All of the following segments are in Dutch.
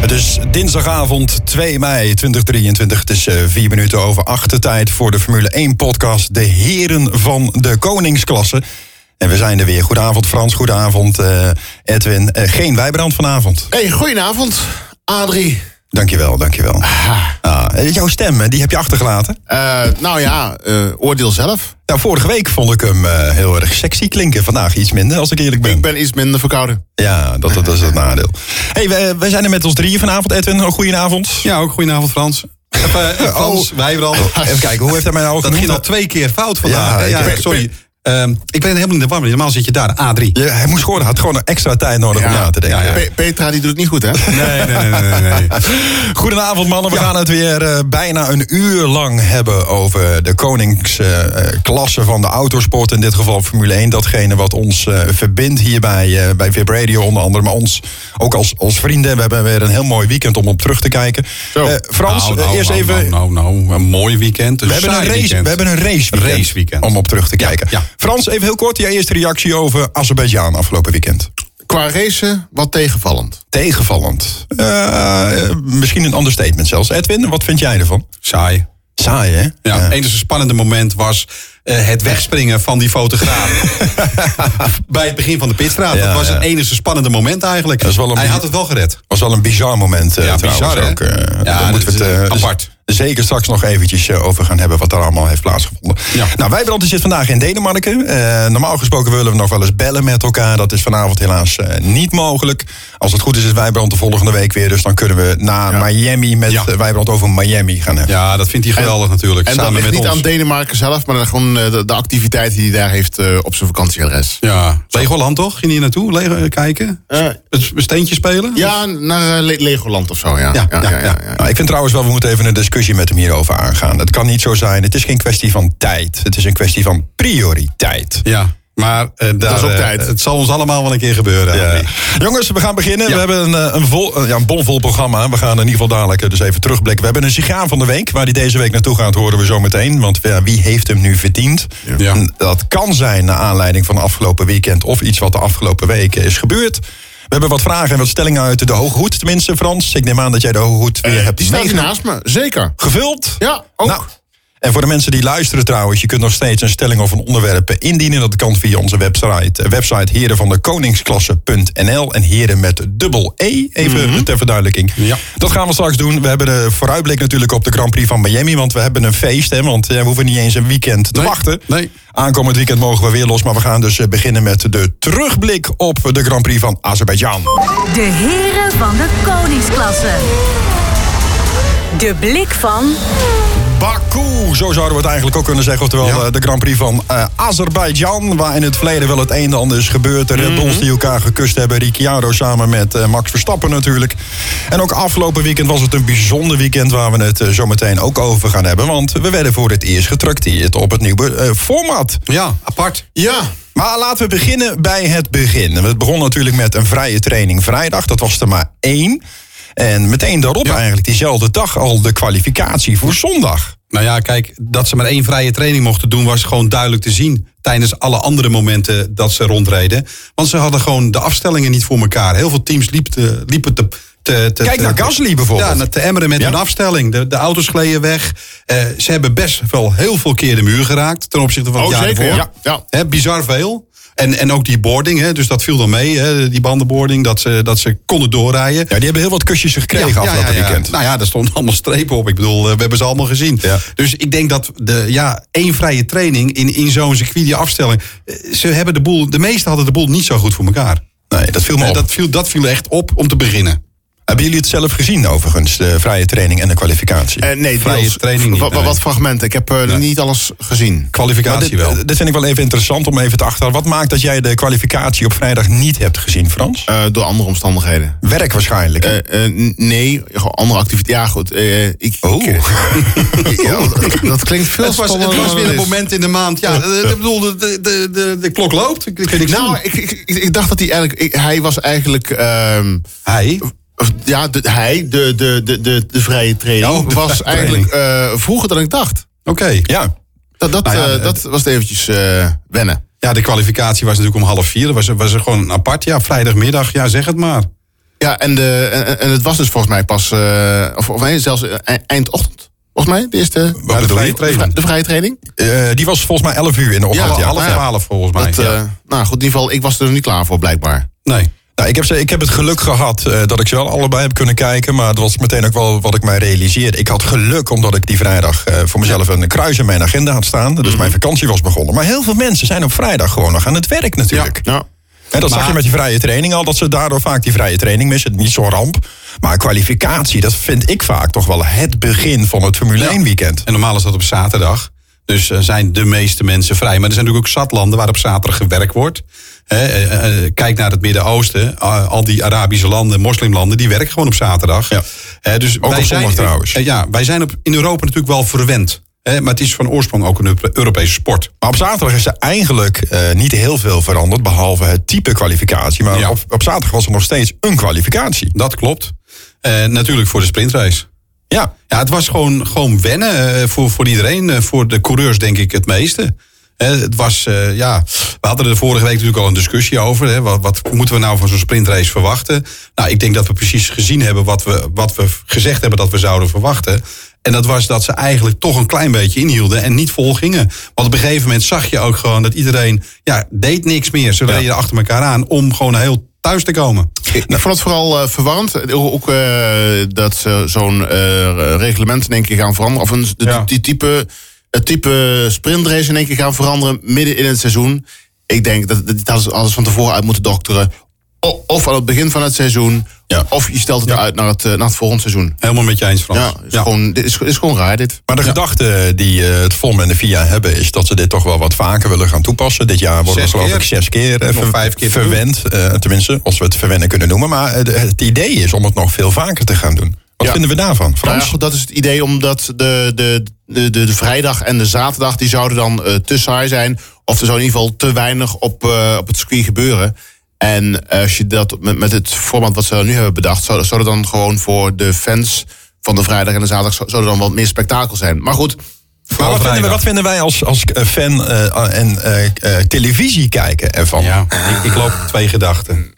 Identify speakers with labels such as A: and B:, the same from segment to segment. A: Het is dinsdagavond 2 mei 2023. Het is eh, vier minuten over acht de tijd voor de Formule 1 podcast. De heren van de koningsklasse. En we zijn er weer. Goedenavond Frans, goedenavond eh, Edwin. Eh, geen wijbrand vanavond.
B: Hey, goedenavond, Adrie.
A: Dankjewel, dankjewel. Ah, eh, jouw stem, eh, die heb je achtergelaten.
B: Eh, nou ja, eh, oordeel zelf.
A: Nou, vorige week vond ik hem eh, heel erg sexy klinken. Vandaag iets minder, als ik eerlijk ben.
B: Ik ben iets minder verkouden.
A: Ja, dat, dat is het nadeel. hey, we, we zijn er met ons drieën vanavond, Edwin. Oh, Goedenavond. Oh.
C: Ja, ook goedenavond Frans. Even, eh, Frans, Wijbrand.
A: Even kijken, hoe heeft hij mij nou
C: Dat ging
A: genoemd?
C: al twee keer fout vandaag.
A: Ja,
C: hè? Ja,
A: ik- ik-
C: sorry. Ehm, ik ben helemaal in de war. Normaal zit je daar, A3.
A: Ja, hij moest gewoon, had gewoon een extra tijd nodig om na te denken.
C: ja, ja.
B: Pe- Petra, die doet het niet goed, hè?
C: Nee, nee, nee, nee. nee.
A: Goedenavond mannen, we gaan het weer eh, bijna een uur lang hebben over de koningsklasse van de autosport. In dit geval Formule 1, datgene wat ons eh, verbindt hier bij, eh, bij VIP Radio onder andere. Maar ons ook als, als vrienden, we hebben weer een heel mooi weekend om op terug te kijken.
B: Zo.
A: Eh, Frans,
C: Nou,
A: eh,
C: nou,
A: eerst
C: nou,
A: even...
C: Nou, nou, nou, een mooi weekend. Een
A: We hebben, een
C: saai
A: race,
C: weekend.
A: we hebben een race weekend,
C: Raceweekend.
A: om op terug te kijken.
C: ja.
A: Frans, even heel kort je eerste reactie over Azerbeidzjan afgelopen weekend.
B: Qua racen wat tegenvallend.
A: Tegenvallend. Eh, misschien een understatement zelfs. Edwin, wat vind jij ervan?
C: Saai.
A: Saai, hè?
C: Ja, het enige spannende moment was eh, het wegspringen van die fotograaf. Bij het begin van de pitstraat.
A: Ja,
C: dat was
A: ja.
C: het enige spannende moment eigenlijk.
A: Dat is wel een
C: Hij
A: bi-
C: had het wel gered.
A: was wel een bizar moment eh
C: Ja,
A: trouwens
C: bizar, hè?
A: ook. eh,
C: Ja,
A: daar
C: dat
A: moeten we
C: is,
A: het
C: eh,
A: eh, z-
C: apart.
A: zeker straks nog eventjes eh, over gaan hebben wat daar allemaal heeft plaatsgevonden.
C: Ja.
A: Nou, Wijbrand die zit vandaag in Denemarken. Eh, normaal gesproken willen we nog wel eens bellen met elkaar. Dat is vanavond helaas eh, niet mogelijk. Als het goed is, is Wijbrand de volgende week weer. Dus dan kunnen we naar Miami met
C: Ja.
A: eh, Wijbrand over Miami gaan hebben.
C: Ja, dat vindt hij geweldig natuurlijk.
B: En dat
C: samen
B: ligt
C: met
B: niet
C: ons.
B: aan Denemarken zelf, maar dan gewoon eh, de, de activiteit die hij daar heeft eh, op zijn vakantieadres.
C: Ja, Legoland toch? Ging je naartoe? Lego eh, kijken?
B: Eh,
C: Het s- steentje spelen?
B: ja, naar eh, Le- Legoland of zo, ja.
C: Ja, ja, ja.
A: Nou, ik vind trouwens wel, we moeten even een discussie met hem hierover aangaan. Het kan niet zo zijn. Het is geen kwestie van tijd. Het is een kwestie van prioriteit.
C: Ja, maar eh, daar,
B: is op
C: eh,
B: tijd.
C: het zal ons allemaal wel een keer gebeuren.
A: Ja.
C: Henry.
A: Jongens, we gaan beginnen.
C: Ja.
A: We hebben een, eh, een, vol, eh, ja, een bomvol programma. We gaan in ieder geval dadelijk eh, dus even terugblikken. We hebben een sigaar van de week. Waar die deze week naartoe gaat, horen we zo meteen. Want ja, wie heeft hem nu verdiend?
C: Ja.
A: En Dat kan zijn naar aanleiding van afgelopen weekend... of iets wat de afgelopen weken is gebeurd. We hebben wat vragen en wat stellingen uit de Hoge Hoed. Tenminste, Frans, ik neem aan dat jij de Hoge Hoed weer
B: Eh,
A: hebt
B: die staat hier
A: meegenomen.
B: naast me, zeker.
A: Gevuld?
B: Ja, ook.
A: Nou, en voor de mensen die luisteren trouwens, je kunt nog steeds een stelling of een onderwerp eh, indienen. Dat kan via onze website, eh, website herenvandekoningsklasse.nl en heren met dubbel E, even ter verduidelijking.
C: Mhm. Ja.
A: Dat gaan we straks doen. We hebben de vooruitblik natuurlijk op de Grand Prix van Miami, want we hebben een feest, hè, want eh, we hoeven niet eens een weekend te
C: Nee,
A: wachten.
C: nee.
A: Aankomend weekend mogen we weer los, maar we gaan dus eh, beginnen met de terugblik op de Grand Prix van Azerbeidzjan.
D: De heren van de koningsklasse. De blik van
A: Baku, zo zouden we het eigenlijk ook kunnen zeggen. Oftewel
C: Ja.
A: eh, de Grand Prix van eh Azerbeidzjan. Waar in het verleden wel het een en ander is gebeurd. De Red
C: Mhm.
A: Bulls die elkaar gekust hebben. Ricciardo samen met eh, Max Verstappen natuurlijk. En ook afgelopen weekend was het een bijzonder weekend... waar we het eh, zo meteen ook over gaan hebben. Want we werden voor het eerst getrakteerd op het nieuwe eh, format.
C: Ja, apart.
B: Ja,
A: Maar laten we beginnen bij het begin. Het begon natuurlijk met een vrije training vrijdag. Dat was er maar één. En meteen daarop eigenlijk diezelfde dag al de kwalificatie voor zondag.
C: Nou ja, kijk, dat ze maar één vrije training mochten doen... was gewoon duidelijk te zien tijdens alle andere momenten dat ze rondreden. Want ze hadden gewoon de afstellingen niet voor elkaar. Heel veel teams liep te- liepen te... te, te-
A: Kijk naar
C: te-
A: Gasly bijvoorbeeld.
C: Ja, naar te emmeren met
A: Ja.
C: hun afstelling. De, de auto's gleden weg. Eh, ze hebben best wel heel veel keer de muur geraakt... ten opzichte van het
B: Oh,
C: jaar
B: zeker,
C: ervoor.
B: ja. Ja.
C: Hè, bizar veel. En, en ook die boarding, hè, dus dat viel dan mee, hè, die bandenboarding, dat ze, dat ze konden doorrijden.
A: Ja, die hebben heel wat kusjes gekregen afgelopen weekend.
C: Nou ja, daar stonden allemaal strepen op. Ik bedoel, eh, we hebben ze allemaal gezien.
A: Ja.
C: Dus ik denk dat de, ja, één vrije training in, in zo'n circuit, die afstelling. eh, Ze hebben de boel, de meesten hadden de boel niet zo goed voor elkaar.
A: Nee, dat viel me
C: Eh,
A: op.
C: Dat viel, dat viel echt op om te beginnen.
A: Hebben jullie het zelf gezien overigens, de vrije training en de kwalificatie?
B: Eh, nee,
C: Vrije
B: deels.
C: training niet,
B: Wa- wa-
C: nee.
B: Wat fragmenten. Ik heb eh, niet alles gezien.
A: Maar
C: Kwalificatie
A: dit, eh,
C: wel.
A: dit vind ik wel even interessant om even te achterhalen. Wat maakt dat jij de kwalificatie op vrijdag niet hebt gezien, Frans?
B: Eh, door andere omstandigheden.
A: Werk waarschijnlijk. hè?
B: Eh, eh, n- nee, gewoon andere activiteiten. Ja, goed. eh, ik,
A: Oeh.
B: ik- Ja, dat, dat klinkt veel
C: Oh. Het was, het
B: spannender
C: was
B: dan
C: weer een
B: is.
C: moment in de maand. Ja, eh, ik bedoel, de, de, de, de, de klok loopt. Ik, ik, ik,
B: Nou, ik, ik, ik, ik dacht dat hij eigenlijk... ik- hij was eigenlijk... ehm,
C: hij.
B: Of, Ja, de, hij, de, de, de, de, de vrije training,
C: Ja, ook Oh, de
B: was
C: vrije
B: eigenlijk eh, vroeger dan ik dacht.
C: Oké.
A: Ja.
B: Dat, dat,
C: Nou ja,
B: eh,
C: eh,
B: dat was het eventjes eh, wennen.
C: Ja, de kwalificatie was natuurlijk om half vier. Dat was, was er gewoon apart. Ja, vrijdagmiddag. Ja, zeg het maar.
B: Ja, en, de, en, en het was dus volgens mij pas, eh, of, of nee, zelfs eh, eindochtend, volgens mij, de eerste
A: Wat bedoel
C: vrije
A: je?
B: de, vri-
C: training.
B: de vrije training.
A: Eh, die was volgens mij 11 uur in de ochtend.
C: Half,
A: ja.
C: half
B: ja.
C: twaalf volgens mij.
B: Dat, eh,
C: ja.
B: nou goed, in ieder geval, ik was er nog niet klaar voor, blijkbaar.
C: Nee.
A: Nou, ik, heb ze, ik heb het geluk gehad eh, dat ik ze wel allebei heb kunnen kijken. Maar dat was meteen ook wel wat ik mij realiseerde. Ik had geluk omdat ik die vrijdag eh, voor mezelf een kruis in mijn agenda had staan. Dus mijn vakantie was begonnen. Maar heel veel mensen zijn op vrijdag gewoon nog aan het werk natuurlijk.
B: Ja.
A: En dat zag je met die vrije training al, dat ze daardoor vaak die vrije training missen. Niet zo'n ramp. Maar kwalificatie, dat vind ik vaak toch wel het begin van het Formule 1 weekend.
C: En normaal is dat op zaterdag. Dus eh, zijn de meeste mensen vrij. Maar er zijn natuurlijk ook zat landen waar op zaterdag gewerkt wordt. Hè, eh, eh, kijk naar het Midden-Oosten. Ah, al die Arabische landen, moslimlanden, die werken gewoon op zaterdag.
A: Ja.
C: Hè, dus
A: op zondag trouwens.
C: eh, ja, wij zijn op, in Europa natuurlijk wel verwend. Hè, maar het is van oorsprong ook een Euro- Europese sport.
A: Maar op zaterdag is er eigenlijk eh, niet heel veel veranderd, behalve het type kwalificatie. Maar
C: Ja.
A: op, op zaterdag was er nog steeds een kwalificatie.
C: Dat klopt. Eh, natuurlijk voor de sprintrace.
A: Ja,
C: Ja, het was gewoon, gewoon wennen eh, voor, voor iedereen. eh, voor de coureurs denk ik het meeste. Hè, het was, eh, ja, we hadden er vorige week natuurlijk al een discussie over. Hè, wat, wat moeten we nou van zo'n sprintrace verwachten? Nou, ik denk dat we precies gezien hebben wat we, wat we gezegd hebben dat we zouden verwachten. En dat was dat ze eigenlijk toch een klein beetje inhielden en niet vol gingen. Want op een gegeven moment zag je ook gewoon dat iedereen ja, deed niks meer. Ze reden achter elkaar aan om gewoon heel thuis te komen.
B: Ik, ik vond het vooral eh, verwarrend. Ook ook, eh, dat ze zo'n eh, reglement in één keer gaan veranderen. Of een, de-
C: Ja.
B: die type, het type sprintrace in één keer gaan veranderen midden in het seizoen. Ik denk dat dat dit hadden ze alles van tevoren uit moeten dokteren. O- of aan het begin van het seizoen.
A: Ja.
B: Of je stelt het uit naar het, eh, naar het volgende seizoen.
C: Helemaal met je eens, Frans.
B: Ja, is Gewoon, dit is, is gewoon raar dit.
A: Maar de gedachte die eh, het FOM en de FIA hebben... is dat ze dit toch wel wat vaker willen gaan toepassen. Dit jaar worden we
C: Zes
A: geloof
C: keer.
A: ik zes keer, eh,
C: Nog
A: ver-
C: vijf keer te
A: verwend. eh, tenminste, als we het verwennen kunnen noemen. Maar eh, de- het idee is om het nog veel vaker te gaan doen. Wat
B: Ja.
A: vinden we daarvan,
B: Nou ja,
A: Frans?
B: goed, dat is het idee, omdat de, de, de, de, de vrijdag en de zaterdag... die zouden dan eh, te saai zijn. Of er zou in ieder geval te weinig op, eh, op het circuit gebeuren. En als je dat met, met het format wat ze nu hebben bedacht... zou, zou er dan gewoon voor de fans van de vrijdag en de zaterdag... zou, zou er dan wat meer spektakel zijn. Maar goed,
A: maar wat vinden, we,
C: vrijdag.
A: wat vinden wij als, als eh, fan eh, en eh, eh, televisie kijken ervan?
C: Ja, ik, ik loop op twee gedachten.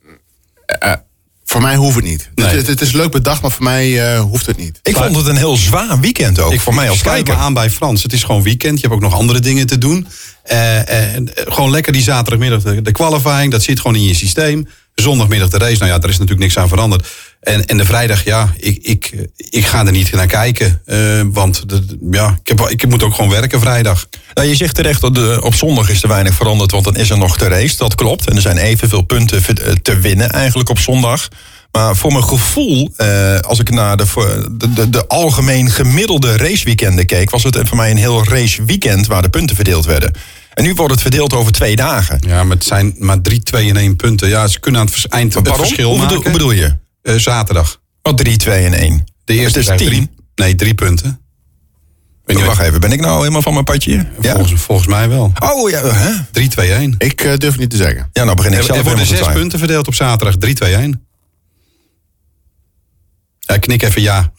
B: voor mij hoeft het niet. Het, het, het is leuk bedacht, maar voor mij eh, hoeft het niet.
A: Ik vond het een heel zwaar weekend ook, voor mij als
C: sluit
A: kijker.
C: me aan bij Frans. Het is gewoon weekend. Je hebt ook nog andere dingen te doen. Eh, eh, gewoon lekker die zaterdagmiddag de, de qualifying. Dat zit gewoon in je systeem. Zondagmiddag de race. Nou ja, daar is natuurlijk niks aan veranderd. En, en de vrijdag, ja, ik, ik, ik ga er niet naar kijken. Eh, want de- ja, ik, heb, wel- ik moet ook gewoon werken vrijdag.
A: Nou, je zegt terecht, dat de- op zondag is er weinig veranderd, want dan is er nog de race. Dat klopt. En er zijn evenveel punten ver- eh, te winnen eigenlijk op zondag. Maar voor mijn gevoel, eh, als ik naar de, voor- de, de, de algemeen gemiddelde raceweekenden keek... was het voor mij een heel raceweekend waar de punten verdeeld werden. En nu wordt het verdeeld over twee dagen.
C: Ja, maar het zijn maar drie, twee en één punten. Ja, ze kunnen aan het vers- eind het
A: Waarom?
C: verschil
A: hoe,
C: maken.
A: bedoel, hoe bedoel je?
C: Eh, zaterdag.
A: Wat 3, 2 Oh, en 1?
C: De eerste
A: het is
C: krijgt
A: 10.
C: dus drie- nee, drie punten. Weet je
A: Wacht
C: wat?
A: even, ben ik nou helemaal van mijn padje? Ja.
C: Volgens, volgens mij wel.
A: Oh ja, hè?
C: 3, 2, 1.
B: Ik eh, durf het niet te zeggen.
A: Ja, nou begin ik
C: Er,
A: zelf
C: er worden
A: helemaal te
C: zes
A: zijn.
C: punten verdeeld op zaterdag. 3, 2, 1. Ja, knik even ja.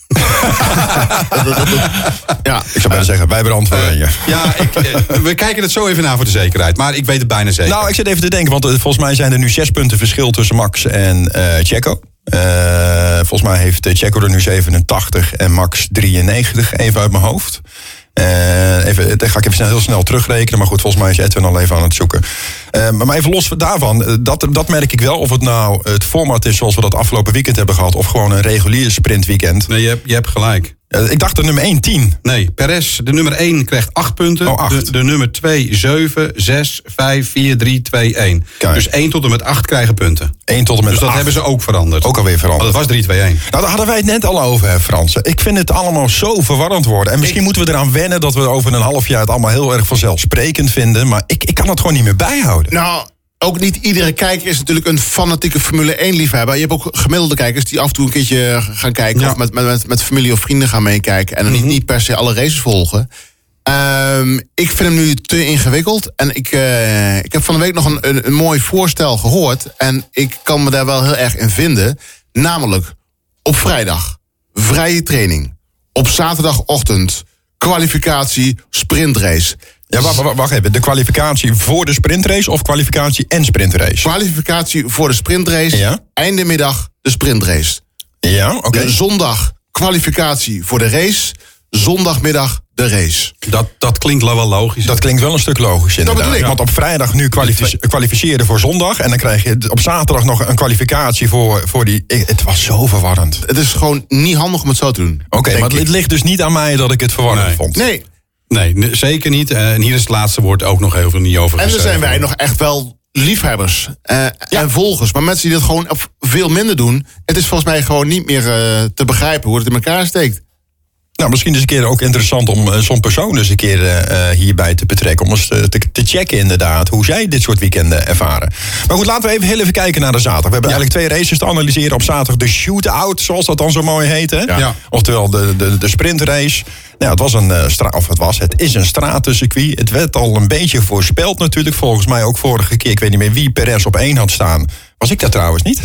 B: Ja,
A: Ik zou bijna zeggen, wij brandweer. ja.
C: Ja, ik, eh, we kijken het zo even na voor de zekerheid. Maar ik weet het bijna zeker.
A: Nou, ik zit even te denken, want eh, volgens mij zijn er nu zes punten verschil tussen Max en eh Checo. Eh, volgens mij heeft eh, Checo er nu 87 en Max 93, even uit mijn hoofd. Eh, even, dat ga ik even snel, heel snel terugrekenen, maar goed, volgens mij is Edwin al even aan het zoeken. Eh, Eh, maar even los daarvan, eh, dat, dat merk ik wel. Of het nou het format is zoals we dat afgelopen weekend hebben gehad. Of gewoon een regulier sprintweekend.
C: Nee, je hebt, je hebt gelijk.
A: Eh, ik dacht de nummer 1, 10.
C: Nee, Perez, de nummer 1 krijgt 8 punten.
A: Oh, acht.
C: De, de nummer 2, 7, 6, 5, 4, 3, 2, 1.
A: Kijk.
C: Dus 1 tot en met 8 krijgen punten.
A: 1 tot en met
C: Dus dat
A: acht.
C: hebben ze ook veranderd.
A: ook alweer
C: Want
A: veranderd.
C: het was 3, 2, 1.
A: Nou, daar hadden wij het net al over, hè, Fransen. Ik vind het allemaal zo verwarrend worden. En misschien moeten we eraan wennen dat we over een half jaar het allemaal heel erg vanzelfsprekend vinden. Maar ik, ik kan het gewoon niet meer bijhouden.
B: Nou, ook niet iedere kijker is natuurlijk een fanatieke Formule 1 liefhebber. Je hebt ook gemiddelde kijkers die af en toe een keertje eh, gaan kijken.
C: Ja.
B: Of met, met, met, met familie of vrienden gaan meekijken. En dan niet, niet per se alle races volgen. Ehm, ik vind hem nu te ingewikkeld. En ik, eh, ik heb van de week nog een, een, een mooi voorstel gehoord. En ik kan me daar wel heel erg in vinden. Namelijk op vrijdag vrije training. Op zaterdagochtend kwalificatie sprintrace.
A: Ja, wacht, wacht, wacht even. De kwalificatie voor de sprintrace of kwalificatie en sprintrace?
B: Kwalificatie voor de sprintrace.
A: Ja.
B: Einde middag de sprintrace.
A: Ja, oké.
B: De
C: Dus
B: zondag kwalificatie voor de race. Zondagmiddag de race.
C: Dat, dat klinkt wel logisch.
A: Dat klinkt wel een stuk logisch inderdaad.
B: bedoel ik.
A: Want op vrijdag nu kwalifice- kwalificeren voor zondag. En dan krijg je op zaterdag nog een kwalificatie voor, voor die... ik- het was zo verwarrend. Oké,
B: Het is gewoon niet handig om het zo te doen. denk
A: maar het
B: ik.
A: ligt dus niet aan mij dat ik het verwarrend
C: Nee.
A: vond.
B: Nee,
C: Nee, ne- zeker niet. Eh, en hier is het laatste woord ook nog heel veel niet over
A: Dus,
B: en er
C: gezegd.
A: eh,
B: zijn wij nog echt wel liefhebbers eh, en volgers. Maar mensen die dat gewoon op veel minder doen... het is volgens mij gewoon niet meer eh, te begrijpen hoe het in elkaar steekt.
A: Nou, misschien is het een keer ook interessant om eh, zo'n persoon eens een keer eh, eh, hierbij te betrekken. Om eens eh, te, te checken inderdaad hoe zij dit soort weekenden ervaren. Maar goed, laten we even heel even kijken naar de zaterdag. We hebben eigenlijk twee races te analyseren. Op zaterdag de shootout, zoals dat dan zo mooi heet. Hè?
C: Ja.
A: Oftewel de, de, de sprintrace. Nou, het was een eh, stra- of het was, het is een stratencircuit. Het werd al een beetje voorspeld natuurlijk. Volgens mij ook vorige keer, ik weet niet meer wie Perez op één had staan. Was ik dat trouwens niet?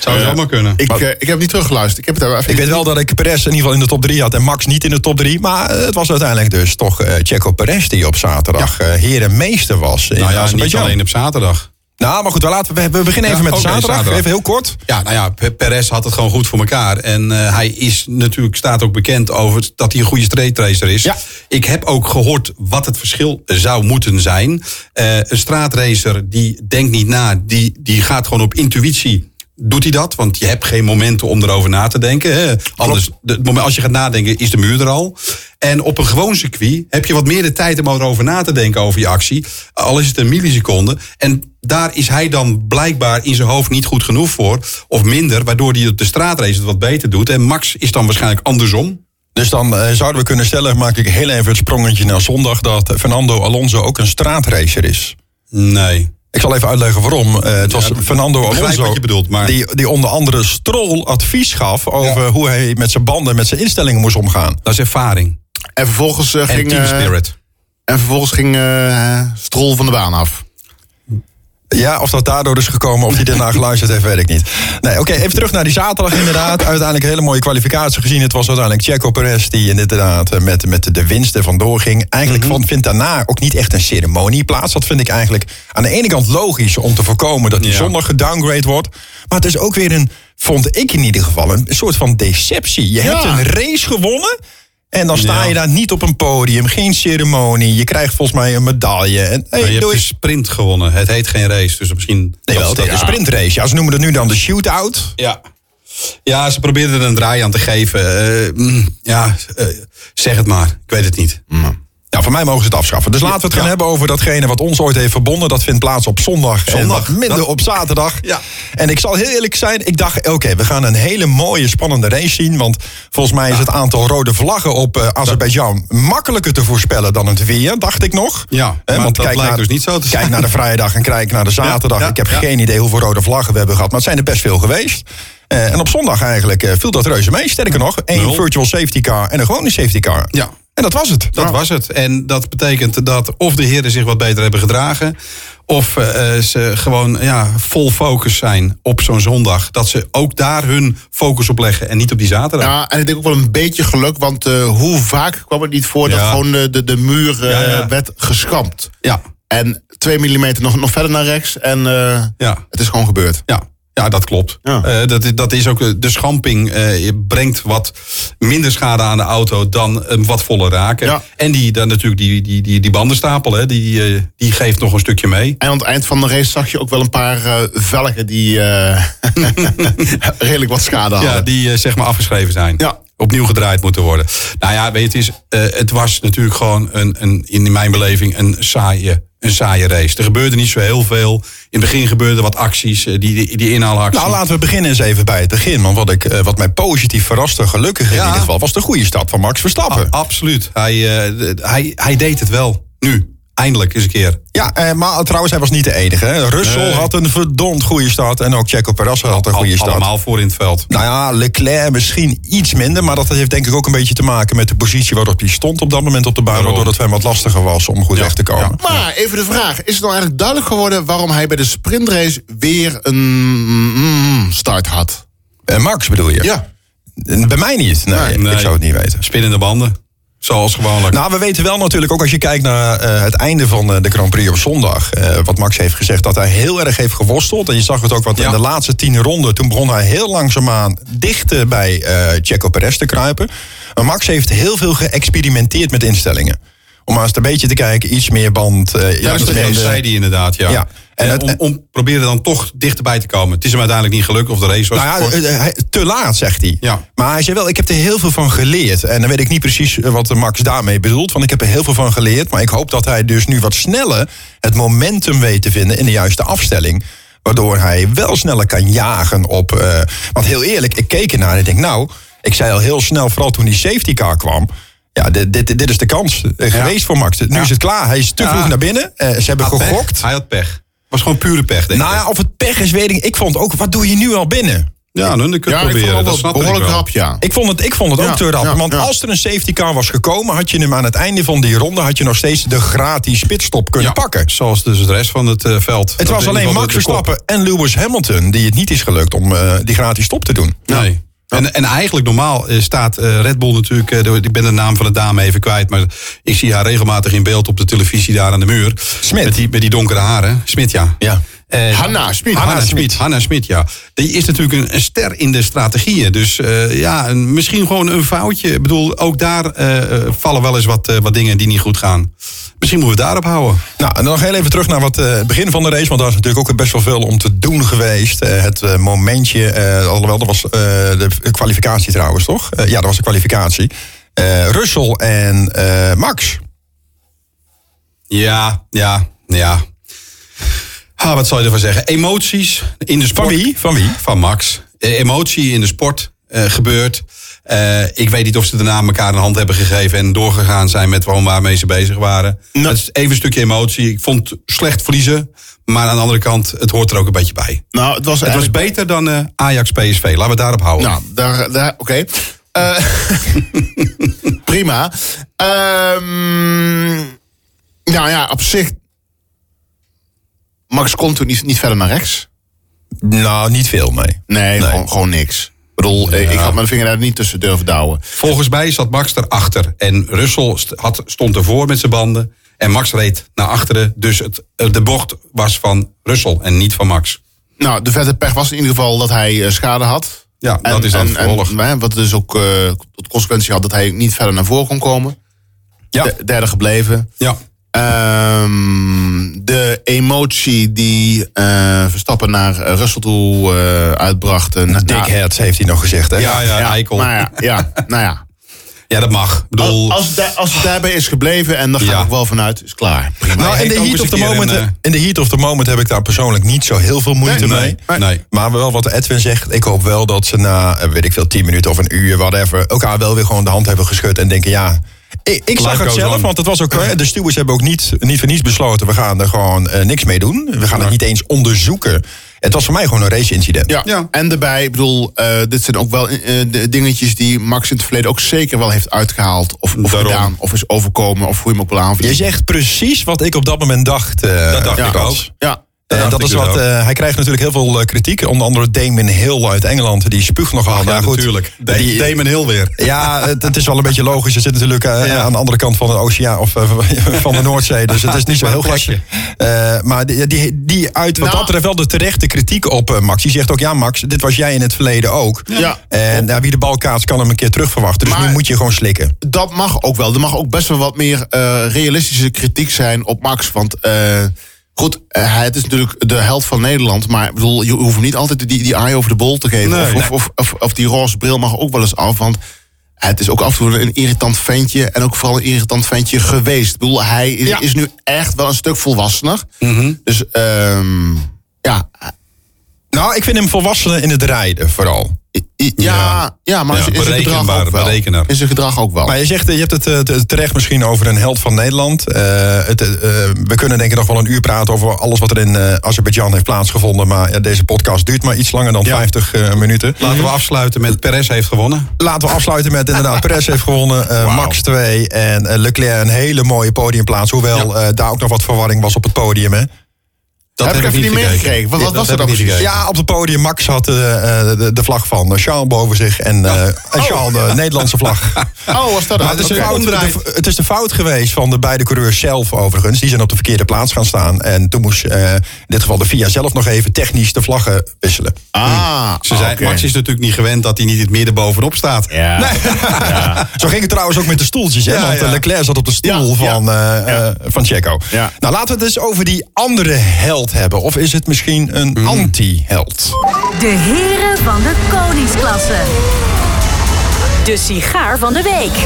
C: Zou het allemaal kunnen.
B: Ik, eh, ik heb niet teruggeluisterd. Ik heb het daar wel even
A: Ik weet wel dat ik Perez in ieder geval in de top 3 had en Max niet in de top 3. Maar eh, het was uiteindelijk dus toch eh Checo Perez die op zaterdag eh heer en meester was. in eh,
C: nou ja, niet
A: Azerbeidzjan.
C: alleen op zaterdag.
A: Nou, maar goed, we, laten, we, we beginnen even
C: Ja,
A: met de
C: oké,
A: zaterdag.
C: zaterdag.
A: Even heel kort.
C: Ja, nou ja, P- Perez had het gewoon goed voor elkaar. En eh, hij is natuurlijk, staat ook bekend over het- dat hij een goede straightracer is.
A: Ja.
C: Ik heb ook gehoord wat het verschil zou moeten zijn. Eh, een straatracer die denkt niet na, die, die gaat gewoon op intuïtie. Doet hij dat? Want je hebt geen momenten om erover na te denken. Hè? Anders, de- het moment, als je gaat nadenken, is de muur er al. En op een gewoon circuit heb je wat meer de tijd om erover na te denken over je actie. Al is het een milliseconde. En daar is hij dan blijkbaar in zijn hoofd niet goed genoeg voor. Of minder, waardoor hij op de straatrace het wat beter doet. En Max is dan waarschijnlijk andersom.
A: Dus dan eh, zouden we kunnen stellen, maak ik heel even het sprongetje naar zondag, dat Fernando Alonso ook een straatracer is.
C: Nee.
A: Ik zal even uitleggen waarom. Eh, het was Fernando
C: begrijp
A: Alonso
C: wat je bedoelt, maar-
A: die, die onder andere Stroll advies gaf over hoe hij met zijn banden, met zijn instellingen moest omgaan.
C: Dat is ervaring.
B: En vervolgens eh,
C: En
B: ging,
C: team
B: eh,
C: spirit.
B: en vervolgens ging eh, Strol van de baan af.
A: Ja, of dat daardoor is gekomen, of hij daarna geluisterd heeft, weet ik niet. Nee, oké, even terug naar die zaterdag inderdaad. Uiteindelijk een hele mooie kwalificatie gezien. Het was uiteindelijk Checo Perez die inderdaad eh, met, met de winst er vandoor ging. Eigenlijk
C: Mhm.
A: van, vindt daarna ook niet echt een ceremonie plaats. Dat vind ik eigenlijk aan de ene kant logisch om te voorkomen dat die
C: Ja.
A: zondag gedowngrade wordt. Maar het is ook weer een, vond ik in ieder geval, een soort van deceptie. Je hebt een race gewonnen... En dan sta
C: Ja.
A: je daar niet op een podium, geen ceremonie. Je krijgt volgens mij een medaille. En, hey,
C: Maar je hebt dus
A: doei.
C: een sprint gewonnen. Het heet geen race, dus misschien...
A: Nee, wel, dat is een sprintrace. Ja, ze noemen dat nu dan de shootout.
C: Ja. Ja, ze probeerden er een draai aan te geven. Eh, mm, ja, eh, zeg het maar. Ik weet het niet.
A: Ja, Nou, voor mij mogen ze het afschaffen. Dus laten we het gaan
C: Ja.
A: hebben over datgene wat ons ooit heeft verbonden. Dat vindt plaats op zondag. En
C: Zondag.
A: wat minder
C: Dat-
A: op zaterdag.
C: Ja.
A: En ik zal heel eerlijk zijn. Ik dacht, oké, we gaan een hele mooie, spannende race zien. Want volgens mij is het aantal rode vlaggen op eh Azerbeidzjan makkelijker te voorspellen dan het weer, dacht ik nog.
C: Ja,
A: Hè,
C: maar dat blijkt
A: naar,
C: dus niet zo te
A: Kijk
C: zijn.
A: naar de vrijdag en kijk naar de zaterdag.
C: ja,
A: ik heb
C: ja.
A: geen idee hoeveel rode vlaggen we hebben gehad. Maar het zijn er best veel geweest. Eh, en op zondag eigenlijk eh, viel dat reuze mee. Sterker nog, één
C: Nul.
A: virtual safety car en een gewone safety car.
C: Ja.
A: En dat was het.
C: Dat was het. En dat betekent dat of de heren zich wat beter hebben gedragen. Of eh, eh, ze gewoon ja, vol focus zijn op zo'n zondag. Dat ze ook daar hun focus op leggen en niet op die zaterdag.
B: Ja, en ik denk ook wel een beetje geluk, want eh, hoe vaak kwam het niet voor dat
C: Ja.
B: gewoon eh, de, de muur eh,
C: Ja, ja.
B: werd geschampt.
C: Ja.
B: En twee millimeter nog, nog verder naar rechts en eh,
C: Ja.
B: het is gewoon gebeurd.
C: Ja. Ja, dat klopt.
B: Ja.
C: Eh, dat, is- dat is ook eh, de schamping eh, brengt wat minder schade aan de auto dan een wat volle raken.
B: Ja.
C: En die, dan natuurlijk die, die, die, die bandenstapel, hè, die, eh, die geeft nog een stukje mee.
B: En aan het eind van de race zag je ook wel een paar eh, velgen die eh, redelijk wat schade hadden.
C: Ja, die eh, zeg maar afgeschreven zijn.
B: Ja.
C: Opnieuw gedraaid moeten worden. Nou ja, weet je, het, is, eh, het was natuurlijk gewoon een, een, in mijn beleving een saaie, een saaie race. Er gebeurde niet zo heel veel. In het begin gebeurden wat acties, eh, die, die, die inhaalactie.
A: Nou, laten we beginnen eens even bij het begin. Want wat, ik, eh, wat mij positief verraste, gelukkig in
C: Ja.
A: ieder geval, was de goede stap van Max Verstappen.
C: A- absoluut. Hij, eh, d- hij, hij deed het wel. Nu. Eindelijk eens een keer.
A: Ja, eh, maar trouwens, hij was niet de enige. Hè. Russell
C: Nee.
A: had een verdomd goede start. En ook Checo Perez had een
C: Al-
A: goede start.
C: allemaal voor in het veld.
A: Nou ja, Leclerc misschien iets minder. Maar dat heeft denk ik ook een beetje te maken met de positie waarop hij stond op dat moment op de baan.
C: Daarom.
A: Waardoor het voor hem wat lastiger was om goed
C: Ja,
A: weg te komen.
B: Maar even de vraag: is het nou eigenlijk duidelijk geworden waarom hij bij de sprintrace weer een mm, start had?
A: Eh, Max bedoel je?
B: Ja.
A: Eh, Bij mij niet. Nee,
C: Nee.
A: ik zou het niet weten.
C: Spinnende banden. Zoals gewoonlijk.
A: Nou, we weten wel natuurlijk ook als je kijkt naar eh, het einde van eh, de Grand Prix op zondag. eh, wat Max heeft gezegd, dat hij heel erg heeft geworsteld. En je zag het ook wat
C: Ja.
A: in de laatste tien ronden. Toen begon hij heel langzaamaan dichter bij eh Checo Perez te kruipen. Maar Max heeft heel veel geëxperimenteerd met instellingen. Om maar eens een beetje te kijken, iets meer band. eh,
C: ja,
A: iets
C: dat
A: minder.
C: zei hij inderdaad, ja.
A: Ja.
C: En
A: En het-
C: om, om proberen dan toch dichterbij te komen. Het is hem uiteindelijk niet gelukt of de race was
A: Nou ja,
C: kort.
A: eh, hij- te laat, zegt hij.
C: Ja.
A: Maar hij zei wel, ik heb er heel veel van geleerd. En dan weet ik niet precies eh, wat Max daarmee bedoelt. Want ik heb er heel veel van geleerd. Maar ik hoop dat hij dus nu wat sneller het momentum weet te vinden in de juiste afstelling. Waardoor hij wel sneller kan jagen op. eh, want heel eerlijk, ik keek ernaar en ik denk, nou, ik zei al heel snel, vooral toen die safety car kwam. Ja, dit, dit, dit is de kans eh, geweest voor Max. Nu is het klaar. Hij is te
C: Ja.
A: vroeg naar binnen. Eh, ze hebben
C: Pech.
A: gegokt.
C: Hij had pech. was gewoon pure pech, denk
A: Nou
C: ik.
A: ja, of het pech is, weet ik. Ik vond ook, wat doe je nu al binnen?
C: Ja, Nou, dan kun je
B: Ja,
C: het
B: ik vond
C: proberen.
B: het
C: Dat
B: wel
C: snap ik
B: behoorlijk
C: wel.
B: rap, ja.
A: Ik vond het, ik vond het
B: Ja,
A: ook te rap.
B: ja,
A: want
B: ja.
A: als er een safety car was gekomen, had je hem aan het einde van die ronde had je nog steeds de gratis pitstop kunnen
C: Ja,
A: pakken.
C: Zoals dus het rest van het eh, veld.
A: Het was alleen Max Verstappen en Lewis Hamilton die het niet is gelukt om eh, die gratis stop te doen.
C: Nee. En, en eigenlijk normaal eh, staat eh, Red Bull natuurlijk... eh, door- ik ben de naam van de dame even kwijt... maar ik zie haar regelmatig in beeld op de televisie daar aan de muur.
A: Smit.
C: Met die, met die donkere haren. Smit, ja.
A: Ja.
C: Eh,
B: Hanna Nou, Smit.
C: Hanna
B: Hanna
C: Smit. Hanna Smit, ja. Die is natuurlijk een, een ster in de strategieën. Dus eh, ja, een- misschien gewoon een foutje. Ik bedoel, ook daar eh, eh, vallen wel eens wat, eh, wat dingen die niet goed gaan. Misschien moeten we het daarop houden.
A: Nou, en dan nog heel even terug naar wat, eh, het begin van de race. Want daar is natuurlijk ook best wel veel om te doen geweest. Eh, het eh, momentje, eh, alhoewel, dat was eh, de kwalificatie trouwens, toch? Eh, ja, dat was de kwalificatie. Eh Russell en eh, Max.
C: Ja, ja, ja. Ah, wat zal je ervan zeggen? Emoties in de sport.
A: Van wie? Van wie?
C: Van Max. Eh, Emotie in de sport eh, gebeurt. Eh, ik weet niet of ze daarna elkaar een hand hebben gegeven en doorgegaan zijn met gewoon waarmee ze bezig waren.
A: Nou.
C: Dat is even een stukje emotie. Ik vond het slecht verliezen. Maar aan de andere kant, het hoort er ook een beetje bij.
B: Nou, het was
C: Het was
B: eigenlijk-
C: beter dan eh, Ajax PSV. Laten we het daarop houden.
B: Nou, daar, daar oké. Eh, prima. Ehm, nou ja, op zich. Max kon toen niet, niet verder naar rechts.
A: Nou, niet veel, nee.
B: Nee, Gewoon, gewoon niks. Ik bedoel, eh, ik had mijn vinger daar niet tussen durven douwen.
C: Volgens mij zat Max erachter. En Russell st- had, stond ervoor met zijn banden. En Max reed naar achteren. Dus het, eh, de bocht was van Russell en niet van Max.
B: Nou, de vette pech was in ieder geval dat hij eh, schade had.
C: Ja, dat is dan het vervolg.
B: en, hè, Wat dus ook eh, tot consequentie had dat hij niet verder naar voren kon komen.
C: Ja.
B: De- derde gebleven.
C: Ja.
B: Ehm, de emotie die eh, Verstappen naar eh, Russell toe eh, uitbracht. en- nou,
A: Dickheads heeft hij nog gezegd, hè?
C: Ja, ja,
B: ja,
C: eikel.
B: Nou ja, ja, nou ja.
C: Ja, dat mag. Ik bedoel,
B: Als, het daar- als het daarbij is gebleven, en daar ga
C: Ja.
B: ik wel vanuit, is klaar. Prima.
A: Nou,
C: Hij
A: in
C: heeft
A: de,
C: ook
A: heat
C: eens
A: of the
C: een keer
A: moment,
C: een, eh,
A: in de heat of the moment heb ik daar persoonlijk niet zo heel veel moeite
C: Nee,
A: mee.
C: nee, nee.
A: Maar wel wat Edwin zegt, ik hoop wel dat ze na, eh, weet ik veel, 10 minuten of een uur, whatever, elkaar wel weer gewoon de hand hebben geschud en denken, ja... Ik, ik zag
C: Life
A: het
C: goes
A: zelf,
C: on.
A: want het was ook, eh, de stewards hebben ook niet, niet voor niets besloten, we gaan er gewoon eh, niks mee doen. We gaan het niet eens onderzoeken. Het was voor mij gewoon een race-incident.
B: Ja.
C: Ja.
B: en daarbij, ik bedoel, eh, dit zijn ook wel eh, de dingetjes die Max in het verleden ook zeker wel heeft uitgehaald. Of, of
C: Daarom.
B: gedaan, of is overkomen, of hoe je hem ook wil aanvliegen.
A: Je zegt precies wat ik op dat moment dacht. eh,
C: dat dacht
B: ja.
C: ik ook.
A: Frans.
B: Ja,
A: Eh,
C: dacht
A: dat
C: ik
A: is
C: dus
A: wat,
C: ook.
A: eh, hij krijgt natuurlijk heel veel eh, kritiek. Onder andere Damon Hill uit Engeland. Die spuugt nogal.
C: ja,
A: maar goed,
C: natuurlijk. Da-
A: die-
C: Damon Hill weer.
A: ja, het, het is wel een beetje logisch. Je zit natuurlijk eh,
C: Ja.
A: aan de andere kant van de oceaan of eh, van de Noordzee. Dus het is niet zo
C: Maar
A: heel
C: een
A: gek.
C: plekje.
A: Eh, maar die, die, die uit wat
B: Nou.
A: dat betreft wel de terechte kritiek op eh, Max. Die zegt ook, ja Max, dit was jij in het verleden ook.
B: Ja.
A: En ja, wie de bal kaatst kan hem een keer terugverwachten. Dus
B: Maar-
A: nu moet je gewoon slikken.
B: dat mag ook wel. Er mag ook best wel wat meer eh, realistische kritiek zijn op Max. Want eh, goed, eh, hij het is natuurlijk de held van Nederland. Maar ik bedoel, je hoeft hem niet altijd die, die eye over de bol te geven. of,
C: Nee.
B: of, of, of, of die roze bril mag ook wel eens af. Want eh, het is ook af en toe een irritant ventje. En ook vooral een irritant ventje geweest. Ik bedoel, hij is,
C: Ja.
B: is nu echt wel een stuk volwassener. Dus ehm, ja,
A: Nou, ik vind hem volwassenen in het rijden vooral.
B: I- i- ja, ja, maar
C: Ja,
B: is, is het gedrag
C: berekenbaar,
B: ook wel.
C: berekener.
B: Is het gedrag ook wel.
A: Maar je zegt, eh, je hebt het eh, te- terecht misschien over een held van Nederland. Eh, het, eh, eh, we kunnen denk ik nog wel een uur praten over alles wat er in eh, Azerbeidzjan heeft plaatsgevonden. Maar ja, deze podcast duurt maar iets langer dan 50 eh, minuten.
C: Laten we afsluiten met Perez heeft gewonnen.
A: Laten we afsluiten met inderdaad, Perez heeft gewonnen, eh, Max 2 en eh, Leclerc een hele mooie podiumplaats. Hoewel eh, daar ook nog wat verwarring was op het podium. Hè?
C: Dat
B: Heb ik even niet meegekregen. Wat- wat was er dan precies?
C: Ja.
A: Ja, op het podium. Max had eh, eh, de, de vlag van eh, Charles boven zich en, eh, en Charles de Nederlandse vlag.
B: Oh, was dat
A: Maar
B: het?
A: het, is een fout,
B: Oké.
A: de- het is de fout geweest van de beide coureurs zelf overigens. Die zijn op de verkeerde plaats gaan staan. En toen moest eh, in dit geval de FIA zelf nog even technisch de vlaggen wisselen.
B: Ah,
C: Ze zei,
B: oké.
C: Max is natuurlijk niet gewend dat hij niet in het midden bovenop staat.
B: Ja.
A: Zo ging het trouwens ook met de stoeltjes. Hè?
C: Ja,
A: Want eh,
C: ja.
A: Leclerc zat op de stoel
B: Ja, ja.
A: van, eh eh, van Checo.
B: Ja.
A: Nou, laten we het eens over die andere held hebben. Of is het misschien een anti-held?
D: De heren van de koningsklasse. De sigaar van de week.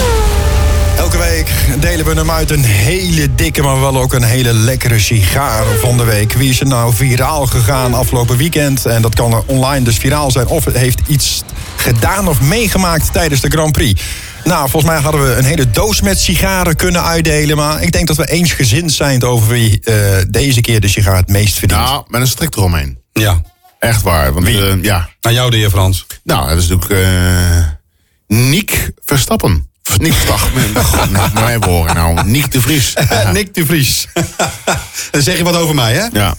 A: Elke week delen we hem uit een hele dikke, maar wel ook een hele lekkere sigaar van de week. Wie is er nou viraal gegaan afgelopen weekend? En dat kan eh, online dus viraal zijn. Of heeft iets gedaan of meegemaakt tijdens de Grand Prix. Nou, volgens mij hadden we een hele doos met sigaren kunnen uitdelen. Maar ik denk dat we eensgezind zijn over wie eh, deze keer de sigaar het meest verdient.
B: Nou, met een strik eromheen.
C: Ja,
B: Echt waar. Want, eh, ja.
C: aan jou de heer Frans.
B: Nou, dat is natuurlijk eh Niek Verstappen. Of Niek Verstappen. God, nou, mijn woorden nou. Niek de Vries.
C: Eh, Nick de Vries. Dan zeg je wat over mij, hè?
B: Ja.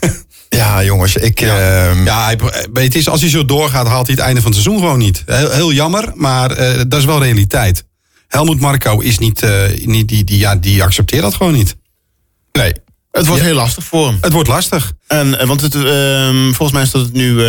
A: Ja, jongens, ik.
C: Ja,
A: ehm,
C: ja hij, weet je, het is, als hij zo doorgaat, haalt hij het einde van het seizoen gewoon niet. Heel, heel jammer, maar eh, dat is wel realiteit. Helmoet Marco is niet, eh, niet die, die, ja, die accepteert dat gewoon niet. Nee.
B: Het wordt heel lastig voor hem.
C: Het wordt lastig.
B: En, eh, want het, ehm, volgens mij staat het nu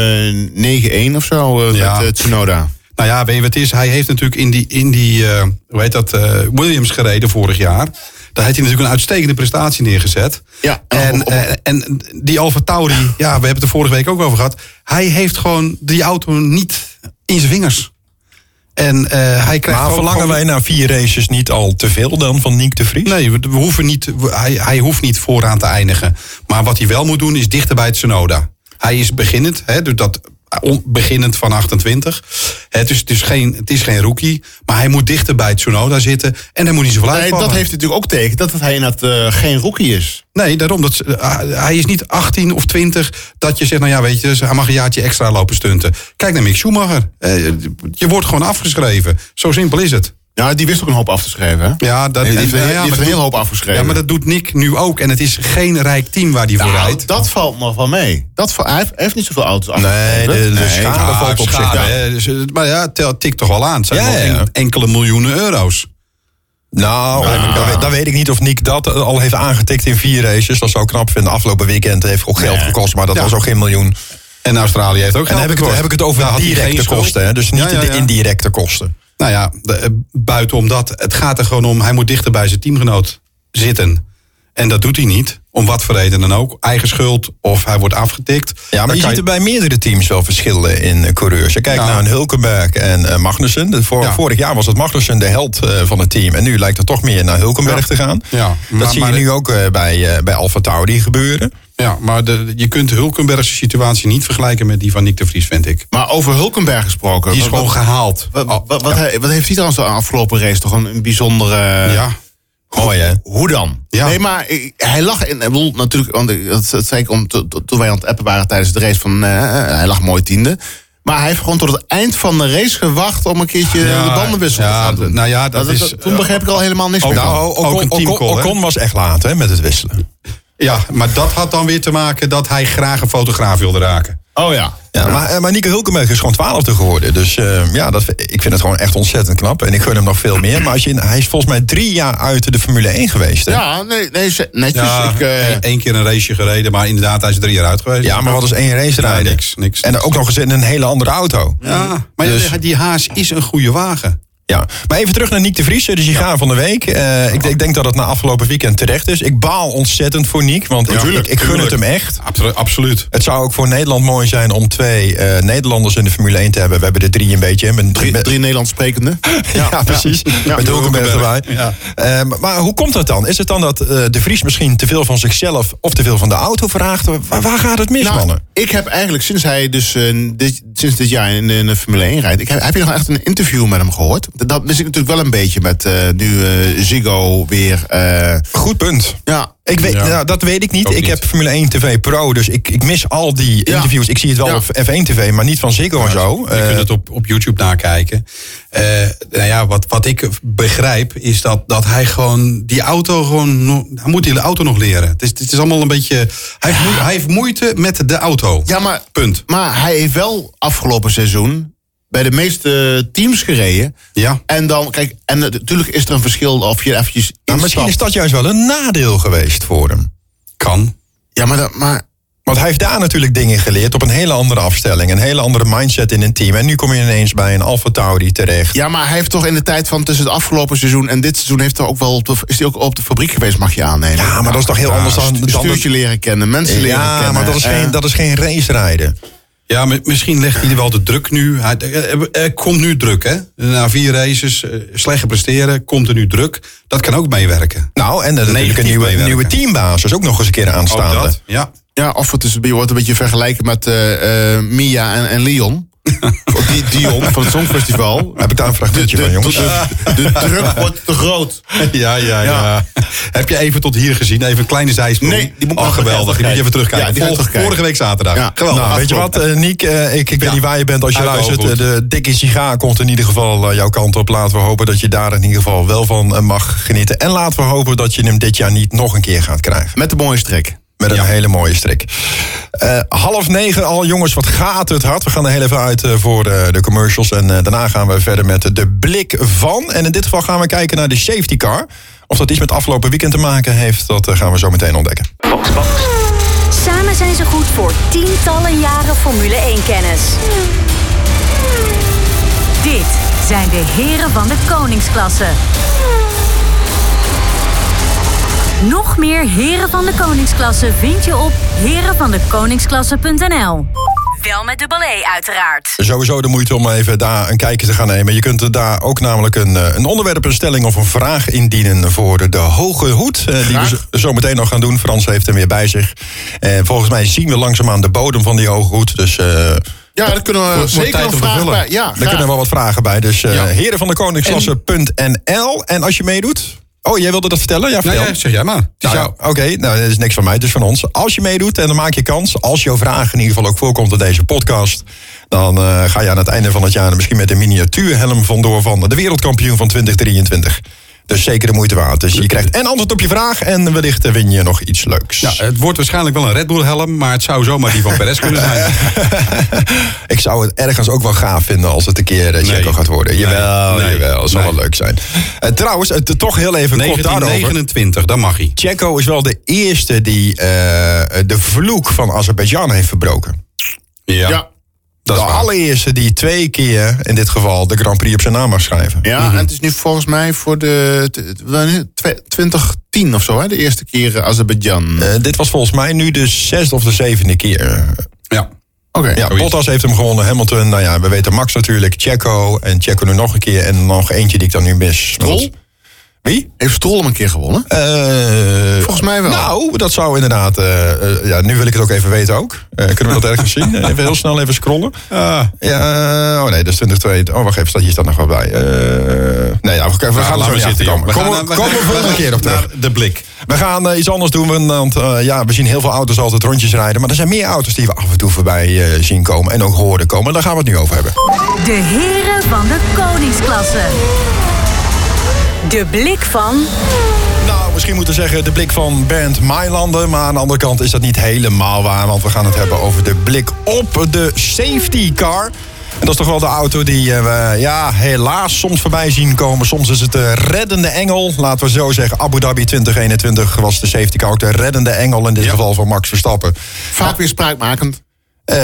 B: eh 9-1 of zo eh,
C: Ja.
B: met eh, Tsunoda.
C: Nou ja, weet je wat het is? Hij heeft natuurlijk in die, in die eh, hoe heet dat, eh, Williams gereden vorig jaar. Daar heeft hij natuurlijk een uitstekende prestatie neergezet.
B: Ja,
A: Oh,
C: En,
B: op- op-
C: eh, en die Alfa Tauri, ja, we hebben het er vorige week ook over gehad. Hij heeft gewoon die auto niet in zijn vingers. En eh, hij krijgt
A: maar
C: ook
A: verlangen
C: gewoon-
A: wij na vier races niet al te veel dan van Niek de Vries?
C: Nee, we, we hoeven niet, we- hij, hij hoeft niet vooraan te eindigen. Maar wat hij wel moet doen is dichter bij het Tsunoda. Hij is beginnend, hè, dus dat, on- beginnend van 28. Het is, het, is geen, het is geen rookie, maar hij moet dichter bij het Tsunoda zitten. En dan moet hij zoveel
B: Nee,
C: uitvallen.
B: dat heeft natuurlijk ook tegen dat hij inderdaad eh, geen rookie is.
C: Nee, daarom. Dat, ze- ah, hij is niet 18 of 20 dat je zegt, nou ja, weet je, dus hij mag een jaartje extra lopen stunten. Kijk naar Mick Schumacher. Eh, je wordt gewoon afgeschreven. Zo simpel is het.
B: Ja, die wist ook een hoop af te schrijven. Hè?
C: Ja, dat,
B: die heeft, een-
C: nou ja,
B: die
C: maar
B: heeft een
C: dat-
B: hele hoop afgeschreven.
C: ja, maar dat doet Nick nu ook. En het is geen rijk team waar hij voor
B: Nou,
C: rijdt.
B: dat valt nog wel mee. Dat val- hij heeft- heeft niet zoveel auto's
A: Nee, de,
B: afgeschreven.
A: de schade
C: Ah,
A: valt op zich.
C: schade,
A: Ja.
C: hè. Dus, eh, maar ja, tel- tikt toch wel aan. Het zijn
A: Ja,
C: wel
A: ja.
C: en- enkele miljoenen euro's.
A: Nou, dat, weet- dat weet ik niet of Nick dat eh, al heeft aangetikt in vier races. Dat zou ik knap vinden. Afgelopen weekend heeft ook geld gekost, maar dat
C: Ja.
A: was ook geen miljoen.
C: En Australië heeft ook
A: En dan heb ik, het, heb ik het over
C: Daar
A: de
C: had hij
A: directe
C: geen schuld.
A: kosten, hè? dus niet
C: Ja, ja,
A: de
C: ja.
A: indirecte kosten.
C: Nou ja, de- eh, buiten om dat. Het gaat er gewoon om, hij moet dichter bij zijn teamgenoot zitten. En dat doet hij niet. Om wat voor reden dan ook. Eigen schuld of hij wordt afgetikt.
A: Ja, maar
C: Dan
A: je
C: kan
A: ziet er bij meerdere teams wel verschillen in eh, coureurs. Je kijkt
C: Ja.
A: naar een Hulkenberg en eh, Magnussen. De vor-
C: Ja.
A: Vorig jaar was het Magnussen de held eh, van het team. En nu lijkt het toch meer naar Hulkenberg te gaan.
C: Ja,
A: Dat
C: maar-
A: zie
C: maar-
A: je nu ook eh, bij, eh bij Alfa Tauri gebeuren.
C: Ja, maar de, je kunt Hulkenberg's situatie niet vergelijken met die van Nick de Vries, vind ik.
B: Maar over Hulkenberg gesproken.
A: Oh,
C: Die is
B: wat-
C: gewoon gehaald.
B: wat, wat, wat, wat hij- wat heeft hij dan zo afgelopen race toch een, een bijzondere...
C: ja.
A: Mooi hè?
B: Hoe dan?
C: Ja.
B: Nee, maar ik- hij lag in. Ik bedoel, natuurlijk, want ik- dat, dat zei ik om, to- to- toen wij aan het appen waren tijdens de race. Van, eh, hij lag mooi tiende. Maar hij heeft gewoon tot het eind van de race gewacht om een keertje
C: Ja,
B: de bandenwissel
C: ja,
B: te gaan doen.
C: nou ja, dat is-
A: Oh,
B: toen begreep ik al helemaal niks meer. van.
C: nou, ook een teamcall, hè?
A: Ocon was echt laat hè, met het wisselen.
C: Ja, maar dat had dan weer te maken dat hij graag een fotograaf wilde raken.
B: Oh ja.
A: Ja, maar, eh, maar Nico Hulkenberg is gewoon twaalfde geworden. Dus eh, ja, dat, ik vind het gewoon echt ontzettend knap. En ik gun hem nog veel meer. Maar als je, in- hij is volgens mij drie jaar uit de Formule 1 geweest. Hè?
B: Ja, nee, nee ze-
A: Dus
B: netjes.
C: Ja,
B: ik, eh,
C: Ah, e- één keer een raceje gereden, maar inderdaad, hij is er drie jaar uit geweest.
A: Ja, maar wat is één race rijden?
C: Ja, niks, niks,
A: En Dus- ook nog eens in een hele andere auto.
C: Ja, maar ja, die Haas is een goede wagen.
A: Ja, maar even terug naar Nick de Vries, de sigaar van de week. Eh, ik, ik denk dat het na afgelopen weekend terecht is. Ik baal ontzettend voor Nick, want ik-
C: tuurlijk,
A: ik, ik gun het hem
C: tuurlijk.
A: echt.
C: Absolu- absoluut.
A: Het zou ook voor Nederland mooi zijn om twee eh, Nederlanders in de Formule 1 te hebben. We hebben er drie een beetje. hè, Met,
B: drie,
A: met-
B: drie Nederlands sprekende.
A: ja, precies. met Hulkenberg erbij.
C: Hulkenberg, ja.
A: Eh, maar- maar hoe komt dat dan? Is het dan dat eh, de Vries misschien te veel van zichzelf of te veel van de auto vraagt? Waar, waar gaat het mis,
B: Nou,
A: mannen?
B: ik heb eigenlijk sinds hij dus eh, dit, sinds dit jaar in, in de Formule 1 rijdt, ik heb, heb je nog echt een interview met hem gehoord? Dat mis ik natuurlijk wel een beetje met eh, nu eh, Ziggo weer. eh,
A: Goed punt.
B: ja,
A: Ik weet,
C: Ja.
A: nou, dat weet ik niet.
C: Ook
A: ik
C: niet.
A: heb Formule 1 TV Pro, dus ik, ik mis al die
B: Ja.
A: interviews. Ik zie het wel
B: Ja.
A: op F1 TV, maar niet van Ziggo en zo.
C: Je
A: Eh,
C: kunt het op, op YouTube nakijken. Eh, nou ja, wat, wat ik begrijp is dat, dat hij gewoon die auto gewoon. nog- Hij moet die auto nog leren. Het is, het is allemaal een beetje. Hij heeft, moe- hij heeft moeite met de auto.
B: ja maar,
C: Punt.
B: maar hij heeft wel afgelopen seizoen bij de meeste teams gereden.
C: Ja.
B: En dan, kijk, en eh, natuurlijk is er een verschil of je eventjes
A: maar misschien is
B: instapt.
A: dat juist wel een nadeel geweest voor hem.
C: Kan.
B: Ja, maar, dat, maar
A: Want hij heeft daar natuurlijk dingen geleerd op een hele andere afstelling. Een hele andere mindset in een team. En nu kom je ineens bij een Alfa Tauri terecht.
B: Ja, maar hij heeft toch in de tijd van tussen het afgelopen seizoen en dit seizoen heeft hij ook wel op de, is hij ook op de fabriek geweest, mag je aannemen.
A: Ja, maar dat is toch heel anders dan... dan
B: Stuurtje leren kennen, mensen leren kennen.
A: ja, maar dat is,
B: eh,
A: geen, dat is geen race rijden.
C: Ja, mi- misschien legt hij er wel de druk nu. Hij, er- er- er komt nu druk, hè? Na vier races, eh, slecht gepresteren, komt er nu druk. Dat kan ook meewerken.
A: Nou, en dan natuurlijk een
C: Negatief
A: nieuwe,
C: meewerken.
A: nieuwe teambasis ook nog eens een keer aanstaande.
C: Ook dat. Ja.
B: ja, of het is, je wordt een beetje vergelijken met eh, eh, Mia en, en Leon. Of die, Dion van het Songfestival.
A: Heb ik daar een
B: De,
A: fragmentje
B: de-
A: van, jongens?
B: de- de druk wordt te groot.
C: Ja, ja, ja. Heb je even tot hier gezien? Even een kleine zijsprong.
B: Nee, die moet ik
C: oh,
B: nog
C: geweldig. Die moet je even
B: even
C: terugkijken.
B: terugkijken. Ja, die ga ik terugkijken.
C: Vol- Vorige week zaterdag.
B: Ja.
C: Geweldig.
A: Nou, weet je wat, eh, Niek? eh, ik ik weet niet waar je bent als je
C: Uit de
A: luistert. eh,
C: hoogte.
A: de dikke sigaar komt in ieder geval eh, jouw kant op. Laten we hopen dat je daar in ieder geval wel van eh, mag genieten. En laten we hopen dat je hem dit jaar niet nog een keer gaat krijgen.
B: Met de mooie strik.
A: Met een
C: Ja.
A: hele mooie strik. Eh, half negen al, jongens, wat gaat het hard. We gaan er heel even uit eh, voor eh, de commercials. En eh, daarna gaan we verder met de blik van. En in dit geval gaan we kijken naar de safety car. Of dat iets met afgelopen weekend te maken heeft, dat eh, gaan we zo meteen ontdekken.
D: Samen zijn ze goed voor tientallen jaren Formule 1-kennis. Dit zijn de heren van de koningsklasse. Nog meer heren van de koningsklasse vind je op herenvandekoningsklasse.nl. Wel met dubbel E uiteraard.
A: Sowieso de moeite om even daar een kijkje te gaan nemen. Je kunt er daar ook namelijk een, eh, een onderwerp, een stelling of een vraag indienen voor de hoge hoed. eh, die we zo- zo meteen nog gaan doen. Frans heeft hem weer bij zich. Eh, volgens mij zien we langzaamaan de bodem van die hoge hoed. Dus eh
B: Ja, daar kunnen we
A: wordt
B: zeker
A: tijd
B: een
A: om te
B: vraag
A: vullen.
B: bij. Ja,
A: daar
B: graag.
A: kunnen wel wat vragen bij. Dus eh
C: Ja.
A: heren van de koningsklasse.nl. En als je meedoet. Oh, jij wilde dat vertellen? Ja,
C: Nou
A: vertel.
C: ja, zeg jij maar. Het is
A: Nou ja,
C: jouw-
A: Oké, nou, dat is niks van mij, het is van ons. Als je meedoet en dan maak je kans, als jouw vraag in ieder geval ook voorkomt in deze podcast, dan eh, ga je aan het einde van het jaar er misschien met een miniatuurhelm vandoor van de wereldkampioen van 2023. Dus zeker de moeite waard. Dus je krijgt en antwoord op je vraag en wellicht eh, win je nog iets leuks.
C: ja, het wordt waarschijnlijk wel een Red Bull helm, maar het zou zomaar die van Perez kunnen zijn.
A: Ik zou het ergens ook wel gaaf vinden als het een keer eh, Checo
C: Nee.
A: gaat worden.
C: Nee.
A: Jawel,
C: Nee.
A: jawel. Het zal
C: Nee.
A: wel leuk zijn. Eh, trouwens, het toch heel even kort daarover.
C: 1929, dan mag hij.
A: Checo is wel de eerste die eh, de vloek van Azerbeidzjan heeft verbroken.
C: Ja.
B: Ja.
C: Dat is
A: de
C: waar.
A: allereerste die twee keer, in dit geval, de Grand Prix op zijn naam mag schrijven.
B: Ja, en het is nu volgens mij voor de t- wanneer? Twe- 2010 of zo, hè? de eerste keer eh, Azerbeidzjan.
A: Eh, dit was volgens mij nu de zesde of de zevende keer.
C: Ja.
B: Oké.
A: ja, Bottas heeft hem gewonnen, Hamilton, nou ja, we weten Max natuurlijk, Checo en Checo nu nog een keer en nog eentje die ik dan nu mis.
B: Stroll?
A: Wie?
B: Heeft Stroll hem een keer gewonnen?
A: Eh,
B: Volgens mij wel.
A: nou, dat zou inderdaad, eh, eh, ja, nu wil ik het ook even weten ook. Eh, kunnen we dat ergens zien? Even heel snel even scrollen. Ja, eh, oh nee, dat is 2022. Oh, wacht even, staat- hier staat nog wel bij. Eh, nee, ja, we, we gaan er zo niet achter komen. Kom,
C: gaan-
A: we- komen we volgende keer op terug.
C: naar De blik.
A: We gaan eh, iets anders doen, want eh, ja, we zien heel veel auto's altijd rondjes rijden. Maar er zijn meer auto's die we af en toe voorbij eh, zien komen en ook horen komen. En daar gaan we het nu over hebben.
D: De heren van de koningsklasse. De blik van
A: Nou, misschien moeten we zeggen de blik van Bernd Mailanden. Maar aan de andere kant is dat niet helemaal waar. Want we gaan het hebben over de blik op de safety car. En dat is toch wel de auto die eh, we ja, helaas soms voorbij zien komen. Soms is het de reddende engel. Laten we zo zeggen, Abu Dhabi 2021 was de safety car ook de reddende engel. In dit geval van Max Verstappen.
B: Vaak weer spraakmakend.
A: Eh,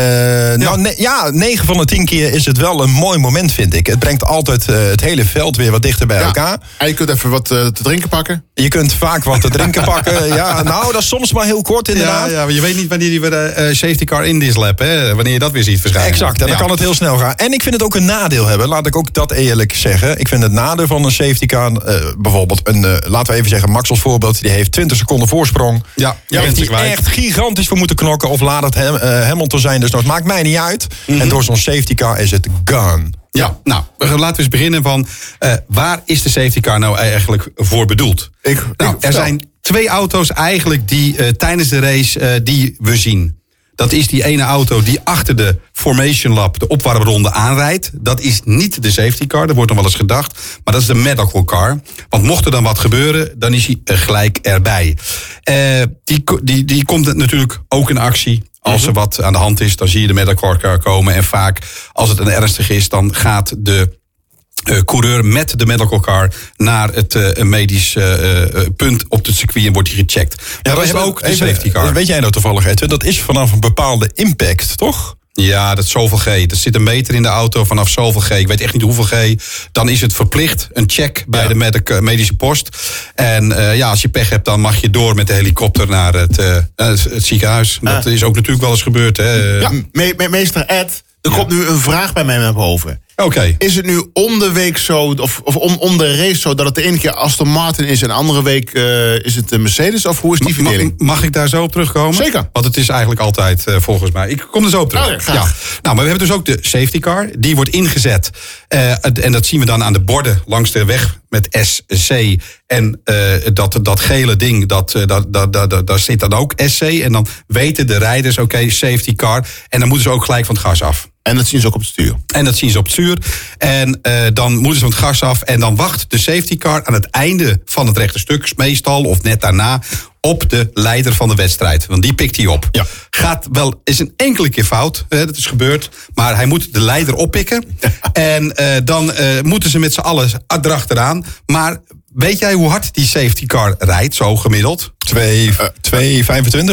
A: Nou, ne- ja, 9 van de 10 keer is het wel een mooi moment, vind ik. Het brengt altijd eh, het hele veld weer wat dichter bij elkaar.
B: En je kunt even wat eh, te drinken pakken.
A: Je kunt vaak wat te drinken pakken. Ja, nou, dat is soms maar heel kort
C: Ja,
A: inderdaad.
C: ja, maar je weet niet wanneer die weer eh, eh, safety car in this lab, hè? Wanneer je dat weer ziet verschijnen.
A: Exact, en dan
C: Ja.
A: kan het heel snel gaan. En ik vind het ook een nadeel hebben, laat ik ook dat eerlijk zeggen. Ik vind het nadeel van een safety car, eh, bijvoorbeeld, een, eh, laten we even zeggen, Max als voorbeeld, die heeft 20 seconden voorsprong.
C: Ja,
A: Daar
C: je bent
A: heeft
C: ze
A: hij
C: kwijt.
A: echt gigantisch voor moeten knokken, of laat het hem, eh, Hamilton zijn, dus dat maakt mij niet uit.
C: Mhm.
A: En door zo'n safety car is het gone.
C: Ja, nou, we gaan- laten we eens beginnen van eh, waar is de safety car nou eigenlijk voor bedoeld?
B: Ik-
C: nou,
B: ik-
C: er
B: vertel.
C: zijn twee auto's eigenlijk die eh, tijdens de race eh, die we zien. Dat is die ene auto die achter de Formation Lab, de opwarmronde, aanrijdt. Dat is niet de safety car, dat wordt nog wel eens gedacht. Maar dat is de medical car. Want mocht er dan wat gebeuren, dan is hij eh, gelijk erbij. Eh, die, ko- die, die komt natuurlijk ook in actie. Als er wat aan de hand is, dan zie je de medical car komen. En vaak, als het een ernstig is, dan gaat de eh, coureur met de medical car naar het eh, medisch eh, eh, punt op het circuit en wordt hij gecheckt. Ja, maar we hebben ook de
A: even-
C: safety car.
A: Weet jij nou toevallig, Edwin, dat is vanaf een bepaalde impact, toch?
C: Ja, dat is zoveel G. Er zit een meter in de auto vanaf zoveel G. Ik weet echt niet hoeveel G. Dan is het verplicht een check bij de medic- eh, medische post. En eh, ja, als je pech hebt, dan mag je door met de helikopter naar het, eh, het, het ziekenhuis. Dat is ook natuurlijk wel eens gebeurd. Hè?
B: Ja,
C: Oké.
B: me- me- meester Ed, er komt nu een vraag bij mij naar boven. Is het nu om de week zo, of, of om, om de race zo, dat het de ene keer Aston Martin is en de andere week eh, is het de Mercedes? Of hoe is die
C: Ma-
B: verdeling?
C: Mag ik daar zo op terugkomen?
B: Zeker.
C: Want het is eigenlijk altijd eh, volgens mij. Ik kom er zo op terug.
B: Oh ja, graag.
C: Nou, maar we hebben dus ook de safety car. Die wordt ingezet. Eh, en dat zien we dan aan de borden langs de weg met SC. En eh, dat, dat gele ding, dat, eh, dat, dat, dat, dat- daar zit dan ook SC. En dan weten de rijders, oké, safety car. En dan moeten ze ook gelijk van het gas af.
B: En dat zien ze ook op het stuur.
C: En dat zien ze op het zuur. En eh, dan moeten ze van het gas af. En dan wacht de safety car aan het einde van het rechte stuk, meestal of net daarna, op de leider van de wedstrijd. Want die pikt hij op.
B: Ja.
C: Gaat wel, is een enkele keer fout. Hè, dat is gebeurd. Maar hij moet de leider oppikken. en eh, dan eh, moeten ze met z'n allen erachteraan. Maar weet jij hoe hard die safety car rijdt, zo gemiddeld?
A: 2,25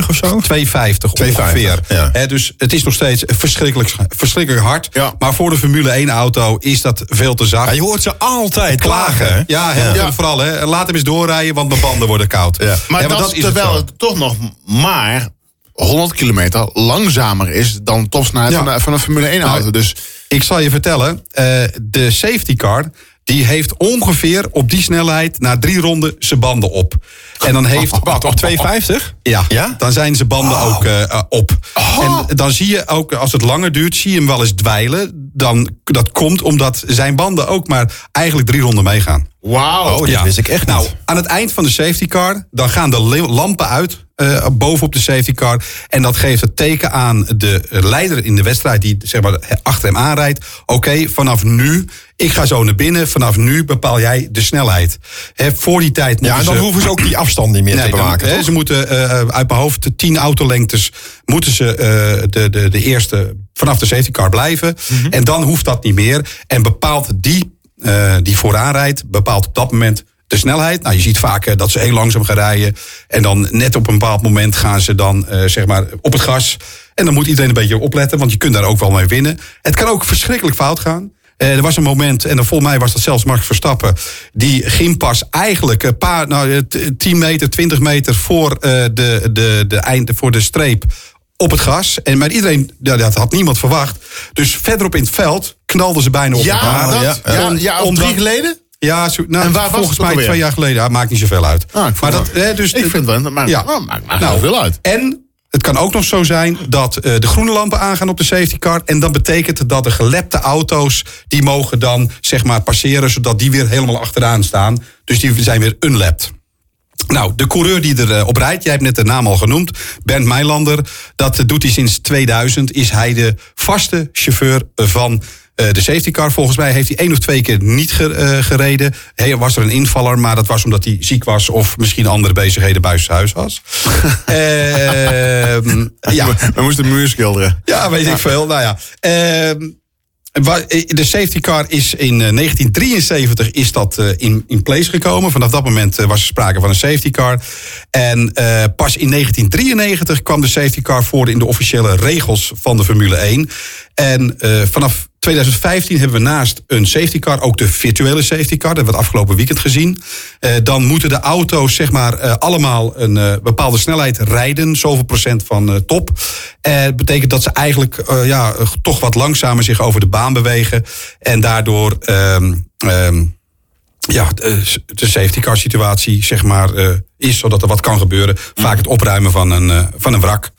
A: of zo?
C: 250 ongeveer.
A: 2,50, ja.
C: Hè, dus het is nog steeds verschrikkelijk, verschrikkelijk hard.
B: Ja.
C: Maar voor de Formule 1 auto is dat veel te zacht.
A: Ja, je hoort ze altijd klagen. hè?
C: Ja, hè,
B: Ja.
C: en vooral. Hè. Laat hem eens doorrijden, want mijn banden worden koud. Ja.
B: Maar
C: Ja,
B: dat,
C: is het
B: terwijl
C: zo.
B: het, toch nog maar 100 kilometer langzamer is dan topsnelheid
C: Ja. Nou,
B: van, de- van een Formule 1 auto. Dus
C: Ik zal je vertellen, eh, de safety car... die heeft ongeveer op die snelheid na drie ronden zijn banden op. En dan heeft...
A: Wat, op 2,50?
C: Ja,
A: Ja? Oh.
C: dan zijn zijn banden ook eh, eh, op. En dan zie je ook, als het langer duurt, zie je hem wel eens dweilen. Dan, dat komt omdat zijn banden ook maar eigenlijk drie ronden meegaan.
B: wauw.
A: Oh, dit wist ik echt
C: Nou,
A: niet.
C: aan het eind van de safety car, dan gaan de le- lampen uit eh, bovenop de safety car. En dat geeft het teken aan de eh, leider in de wedstrijd die zeg maar, he- achter hem aanrijdt. Oké, vanaf nu, ik ga zo naar binnen. Vanaf nu bepaal jij de snelheid. Hè, voor die tijd moeten
A: Ja, en dan
C: ze-
A: hoeven ze ook die afstand niet meer
C: Nee,
A: te
C: dan-
A: bewaken.
C: hè,
A: toch?
C: ze moeten eh, uit mijn hoofd tien autolengtes moeten ze eh, de, de, de eerste vanaf de safety car blijven.
A: Mhm.
C: En dan hoeft dat niet meer. En bepaalt die eh, die vooraan rijdt, bepaalt op dat moment de snelheid. Nou, je ziet vaak eh, dat ze heel langzaam gaan rijden. En dan net op een bepaald moment gaan ze dan eh, zeg maar op het gas. En dan moet iedereen een beetje opletten, want je kunt daar ook wel mee winnen. Het kan ook verschrikkelijk fout gaan. Eh, er was een moment, en dan volgens mij was dat zelfs Max Verstappen. Die ging pas eigenlijk een paar, nou, eh, t- 10 meter, 20 meter voor, eh, de, de, de eind, voor de streep op het gas. En, maar iedereen, ja, dat had niemand verwacht. Dus verderop in het veld knalden ze bijna op
B: Ja,
C: elkaar.
B: dat, ja, ja,
C: Om-
B: of
C: omdat-
B: drie geleden?
C: Ja, zo- nou,
B: En waar was
C: volgens
B: het ook
C: mij
B: alweer?
C: twee jaar geleden. Ja, maakt niet zoveel uit.
B: Ah, ik vond wel-
C: hè, dus
B: Ik vind wel, dat maakt- nou, maakt- maakt heel veel uit.
C: En het kan ook nog zo zijn dat eh, de groene lampen aangaan op de safety car. En dat betekent het dat de gelepte auto's, die mogen dan zeg maar passeren. Zodat die weer helemaal achteraan staan. Dus die zijn weer unlapped. Nou, de coureur die erop op rijdt, jij hebt net de naam al genoemd, Bernd Meilander. Dat eh, doet hij sinds 2000, is hij de vaste chauffeur van eh, de safety car. Volgens mij heeft hij één of twee keer niet ge- eh, gereden. Hey, was er een invaller, maar dat was omdat hij ziek was of misschien andere bezigheden buiten zijn huis was. Ehm, ja.
B: We, we moesten de muur schilderen.
C: ja, weet ik veel. Nou ja. Ehm, wa- eh, de safety car is in eh, 1973 is dat eh, in, in place gekomen. Vanaf dat moment eh, was er sprake van een safety car. En eh, pas in 1993 kwam de safety car voor in de officiële regels van de Formule 1. En eh, vanaf 2015 hebben we naast een safety car ook de virtuele safety car. Dat hebben we het afgelopen weekend gezien. Eh, dan moeten de auto's zeg maar eh, allemaal een eh, bepaalde snelheid rijden. Zoveel procent van eh, top. Eh, Dat betekent dat ze eigenlijk eh, ja, eh, toch wat langzamer zich over de baan bewegen. En daardoor ehm, ehm, ja, de de safety car situatie zeg maar, eh, is. Zodat er wat kan gebeuren. Vaak het opruimen van een, eh, van een wrak.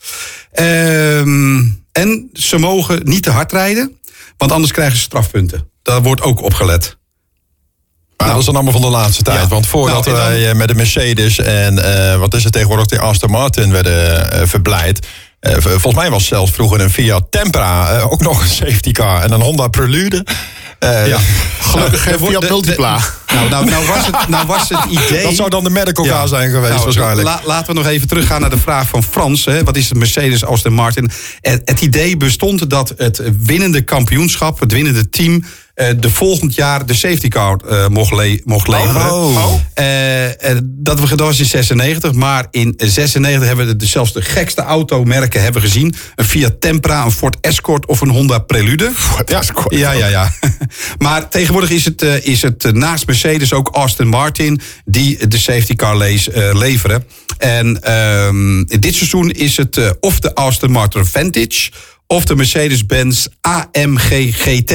C: Ehm, en ze mogen niet te hard rijden. Want anders krijgen ze strafpunten. Daar wordt ook op gelet.
A: Maar Ah, dat is dan allemaal van de laatste tijd.
C: Ja.
A: Want voordat
C: Nou, en dan-
A: wij eh, met de Mercedes en eh, wat is het tegenwoordig, de Aston Martin werden eh, verblijd. eh, v- volgens mij was zelfs vroeger een Fiat Tempra eh, ook nog een safety car. En een Honda Prelude. Eh,
B: Gelukkig
C: Nou,
B: geen
C: wordt
B: Fiat
C: de- de-
B: Multipla.
C: Nou, nou, nou, was het, nou was het idee...
A: Dat zou dan de medical car
C: Ja.
A: zijn geweest
C: Nou,
A: waarschijnlijk.
C: la- laten we nog even teruggaan naar de vraag van Frans. Hè. Wat is het Mercedes als de Martin? Het, het idee bestond dat het winnende kampioenschap, het winnende team... eh, de volgend jaar de safety car eh, mocht, le- mocht leveren.
A: Oh.
C: Eh, eh, dat we gedaan was in 96. Maar in 96 hebben we de, zelfs de gekste automerken hebben gezien. Een Fiat Tempra, een Ford Escort of een Honda Prelude.
A: Ja.
C: Ja, ja, ja. Maar tegenwoordig is het, eh, is het eh, naast Mercedes ook Aston Martin die de safety car lees, eh, leveren. En ehm, dit seizoen is het eh, of de Aston Martin Vantage of de Mercedes-Benz AMG GT.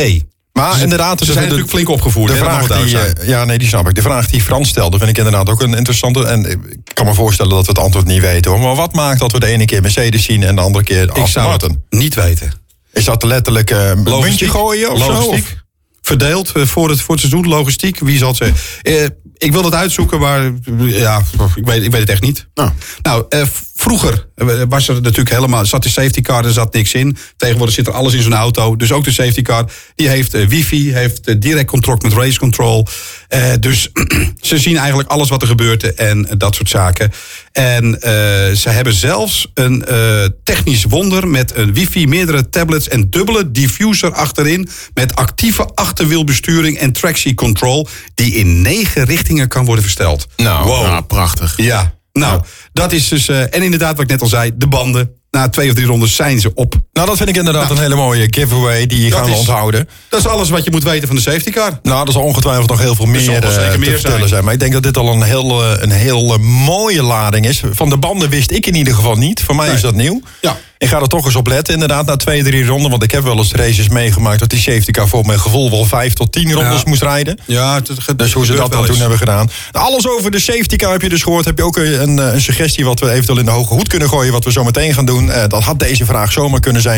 A: Maar inderdaad,
C: Ze
A: dus
C: zijn
A: de-
C: natuurlijk flink opgevoerd.
A: De
C: hè, dat
A: vraag
C: moet
A: die,
C: duidelijk
A: eh,
C: zijn.
A: ja, nee, die snap ik. De vraag die Frans stelde vind ik inderdaad ook een interessante. En eh, ik kan me voorstellen dat we het antwoord niet weten. Hoor. Maar wat maakt dat we de ene keer Mercedes zien en de andere keer
C: Ik
A: eh, Aston
C: zou het
A: Martin?
C: niet weten.
A: Is dat letterlijk eh, een muntje gooien of zo?
C: logistiek.
A: Of-
C: Verdeeld eh, voor het, voor het seizoen, logistiek, wie zal het zeggen. Eh, ik wil dat uitzoeken, maar eh, ja, ik, weet, ik weet het echt niet.
B: Nou.
C: Nou, eh, v- vroeger eh, was er natuurlijk helemaal, zat de safety car, er zat niks in. Tegenwoordig zit er alles in zo'n auto, dus ook de safety car. Die heeft eh, wifi, heeft eh, direct contact met race control. Eh, dus ze zien eigenlijk alles wat er gebeurt en eh, dat soort zaken. En eh, ze hebben zelfs een eh, technisch wonder met een wifi, meerdere tablets en dubbele diffuser achterin. Met actieve achterwielbesturing en tractie control, die in negen richtingen kan worden versteld.
A: Nou,
C: wow.
B: Ah, prachtig.
C: Ja, nou, dat is dus. eh, en inderdaad, wat ik net al zei, de banden. Na twee of drie rondes zijn ze op.
A: Nou, dat vind ik inderdaad een hele mooie giveaway. Die gaan we
C: is-
A: onthouden.
C: Dat is alles wat je moet weten van de safety car.
A: Nou, er zal ongetwijfeld nog heel veel meer,
C: zal wel
A: eh,
C: zeker
A: te
C: meer zijn.
A: vertellen zijn. Maar ik denk dat dit al een heel, eh, een heel eh, mooie lading is. Van de banden wist ik in ieder geval niet. Voor mij is dat nieuw.
C: Ja.
A: Ik ga er toch eens op letten, inderdaad, na twee, drie ronden. Want ik heb wel eens races meegemaakt dat die safety car voor mijn gevoel wel vijf tot tien rondes
C: Ja.
A: moest rijden.
C: Ja, het, het,
A: Dus hoe ze dat dan toen hebben gedaan. Alles over de safety car heb je dus gehoord. Heb je ook een, een, eh, een suggestie wat we eventueel in de hoge hoed kunnen gooien. Wat we zo meteen gaan doen. Eh, dat had deze vraag zomaar kunnen zijn.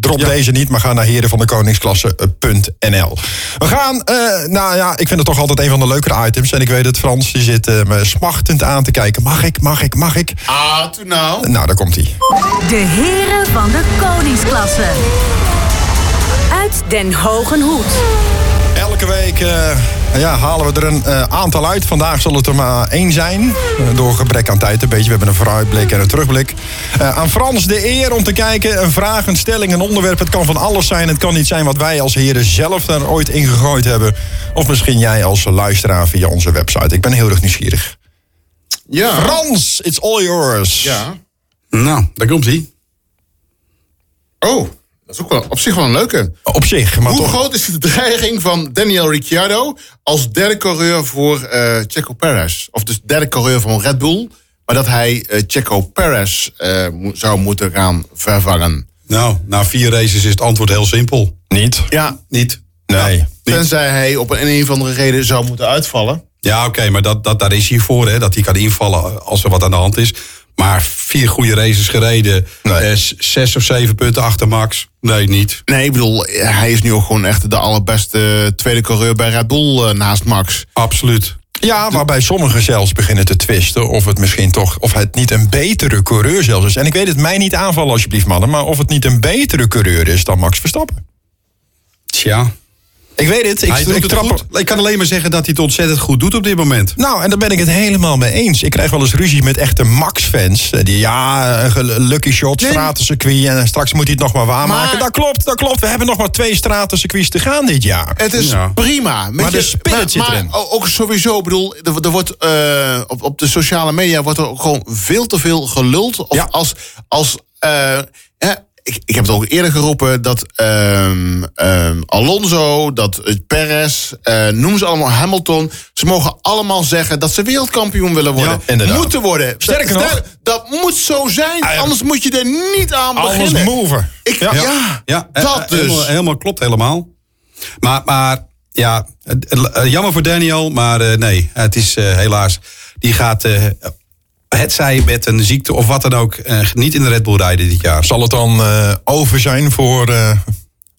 A: Drop deze niet, maar ga naar herenvandekoningsklasse.nl. We gaan, eh, nou ja, ik vind het toch altijd een van de leukere items. En ik weet het, Frans die zit eh, me smachtend aan te kijken. Mag ik, mag ik, mag ik?
B: Ah, toen nou.
A: Nou, daar komt hij.
D: De heren van de koningsklasse. Uit Den Hogen Hoed.
A: Elke week eh, ja, halen we er een eh, aantal uit. Vandaag zal het er maar één zijn. Eh, door gebrek aan tijd een beetje. We hebben een vooruitblik en een terugblik. Eh, aan Frans de eer om te kijken. Een vraag, een stelling, een onderwerp. Het kan van alles zijn. Het kan niet zijn wat wij als heren zelf daar ooit in gegooid hebben. Of misschien jij als luisteraar via onze website. Ik ben heel erg nieuwsgierig.
B: Ja.
A: Frans, it's all yours.
B: Ja.
C: Nou, daar komt hij.
B: Oh, dat is ook wel op zich wel een leuke.
A: Op zich, maar
B: Hoe
A: toch.
B: groot is de dreiging van Daniel Ricciardo als derde coureur voor eh Checo Perez? Of dus derde coureur van Red Bull, maar dat hij eh, Checo Perez eh, mo- zou moeten gaan vervangen.
C: Nou, na vier races is het antwoord heel simpel.
A: Niet.
B: Ja,
C: Niet.
A: Nee.
B: tenzij hij op een, een of andere reden zou moeten uitvallen.
C: Ja, oké, maar dat, dat, daar is hij voor, hè, dat hij kan invallen als er wat aan de hand is. Maar vier goede races gereden, eh, s- zes of zeven punten achter Max. Nee, niet.
B: Nee, ik bedoel, hij is nu ook gewoon echt de allerbeste eh, tweede coureur bij Red Bull eh, naast Max.
C: Absoluut.
A: Ja, waarbij sommigen zelfs beginnen te twisten of het misschien toch, of het niet een betere coureur zelfs is. En ik weet het, mij niet aanvallen alsjeblieft mannen, maar of het niet een betere coureur is dan Max Verstappen.
C: Tja.
A: Ik weet het. Ik,
C: Hij doet
A: ik
C: het
A: trap er-
C: goed. Ik kan alleen maar zeggen dat hij het ontzettend goed doet op dit moment.
A: Nou, en daar ben ik het helemaal mee eens. Ik krijg wel eens ruzie met echte Max-fans. Eh, Die, ja, eh, gel- lucky shot, stratencircuit en eh, straks moet hij het nog maar waarmaken.
B: Maar-
A: Dat klopt, dat klopt. We hebben nog maar twee stratencircuits te gaan dit jaar.
B: Het is
C: Ja.
B: prima. Weet
A: Maar de spirit zit
B: maar
A: erin.
B: ook sowieso, ik bedoel, er, er wordt, eh, op, op de sociale media wordt er ook gewoon veel te veel geluld. Of
A: Ja.
B: als, als eh, hè, ik, ik heb het ook eerder geroepen, dat ehm, ehm, Alonso, dat eh, Perez, eh, noem ze allemaal Hamilton. Ze mogen allemaal zeggen dat ze wereldkampioen willen worden.
A: Ja, inderdaad.
B: Moeten worden.
A: Sterker
B: dat,
A: nog-
B: dat- dat moet zo zijn,
A: Ah, ja.
B: anders moet je er niet aan
A: Alles
B: beginnen.
A: mover.
B: Ik, ja,
C: Ja,
B: dat
C: eh,
B: dus.
C: Helemaal, helemaal klopt, helemaal. Maar, maar ja, eh, eh, jammer voor Daniel, maar eh, nee, het is eh, helaas. Die gaat, eh, het zij met een ziekte of wat dan ook, eh, niet in de Red Bull rijden dit jaar.
A: Zal het dan eh, over zijn voor eh,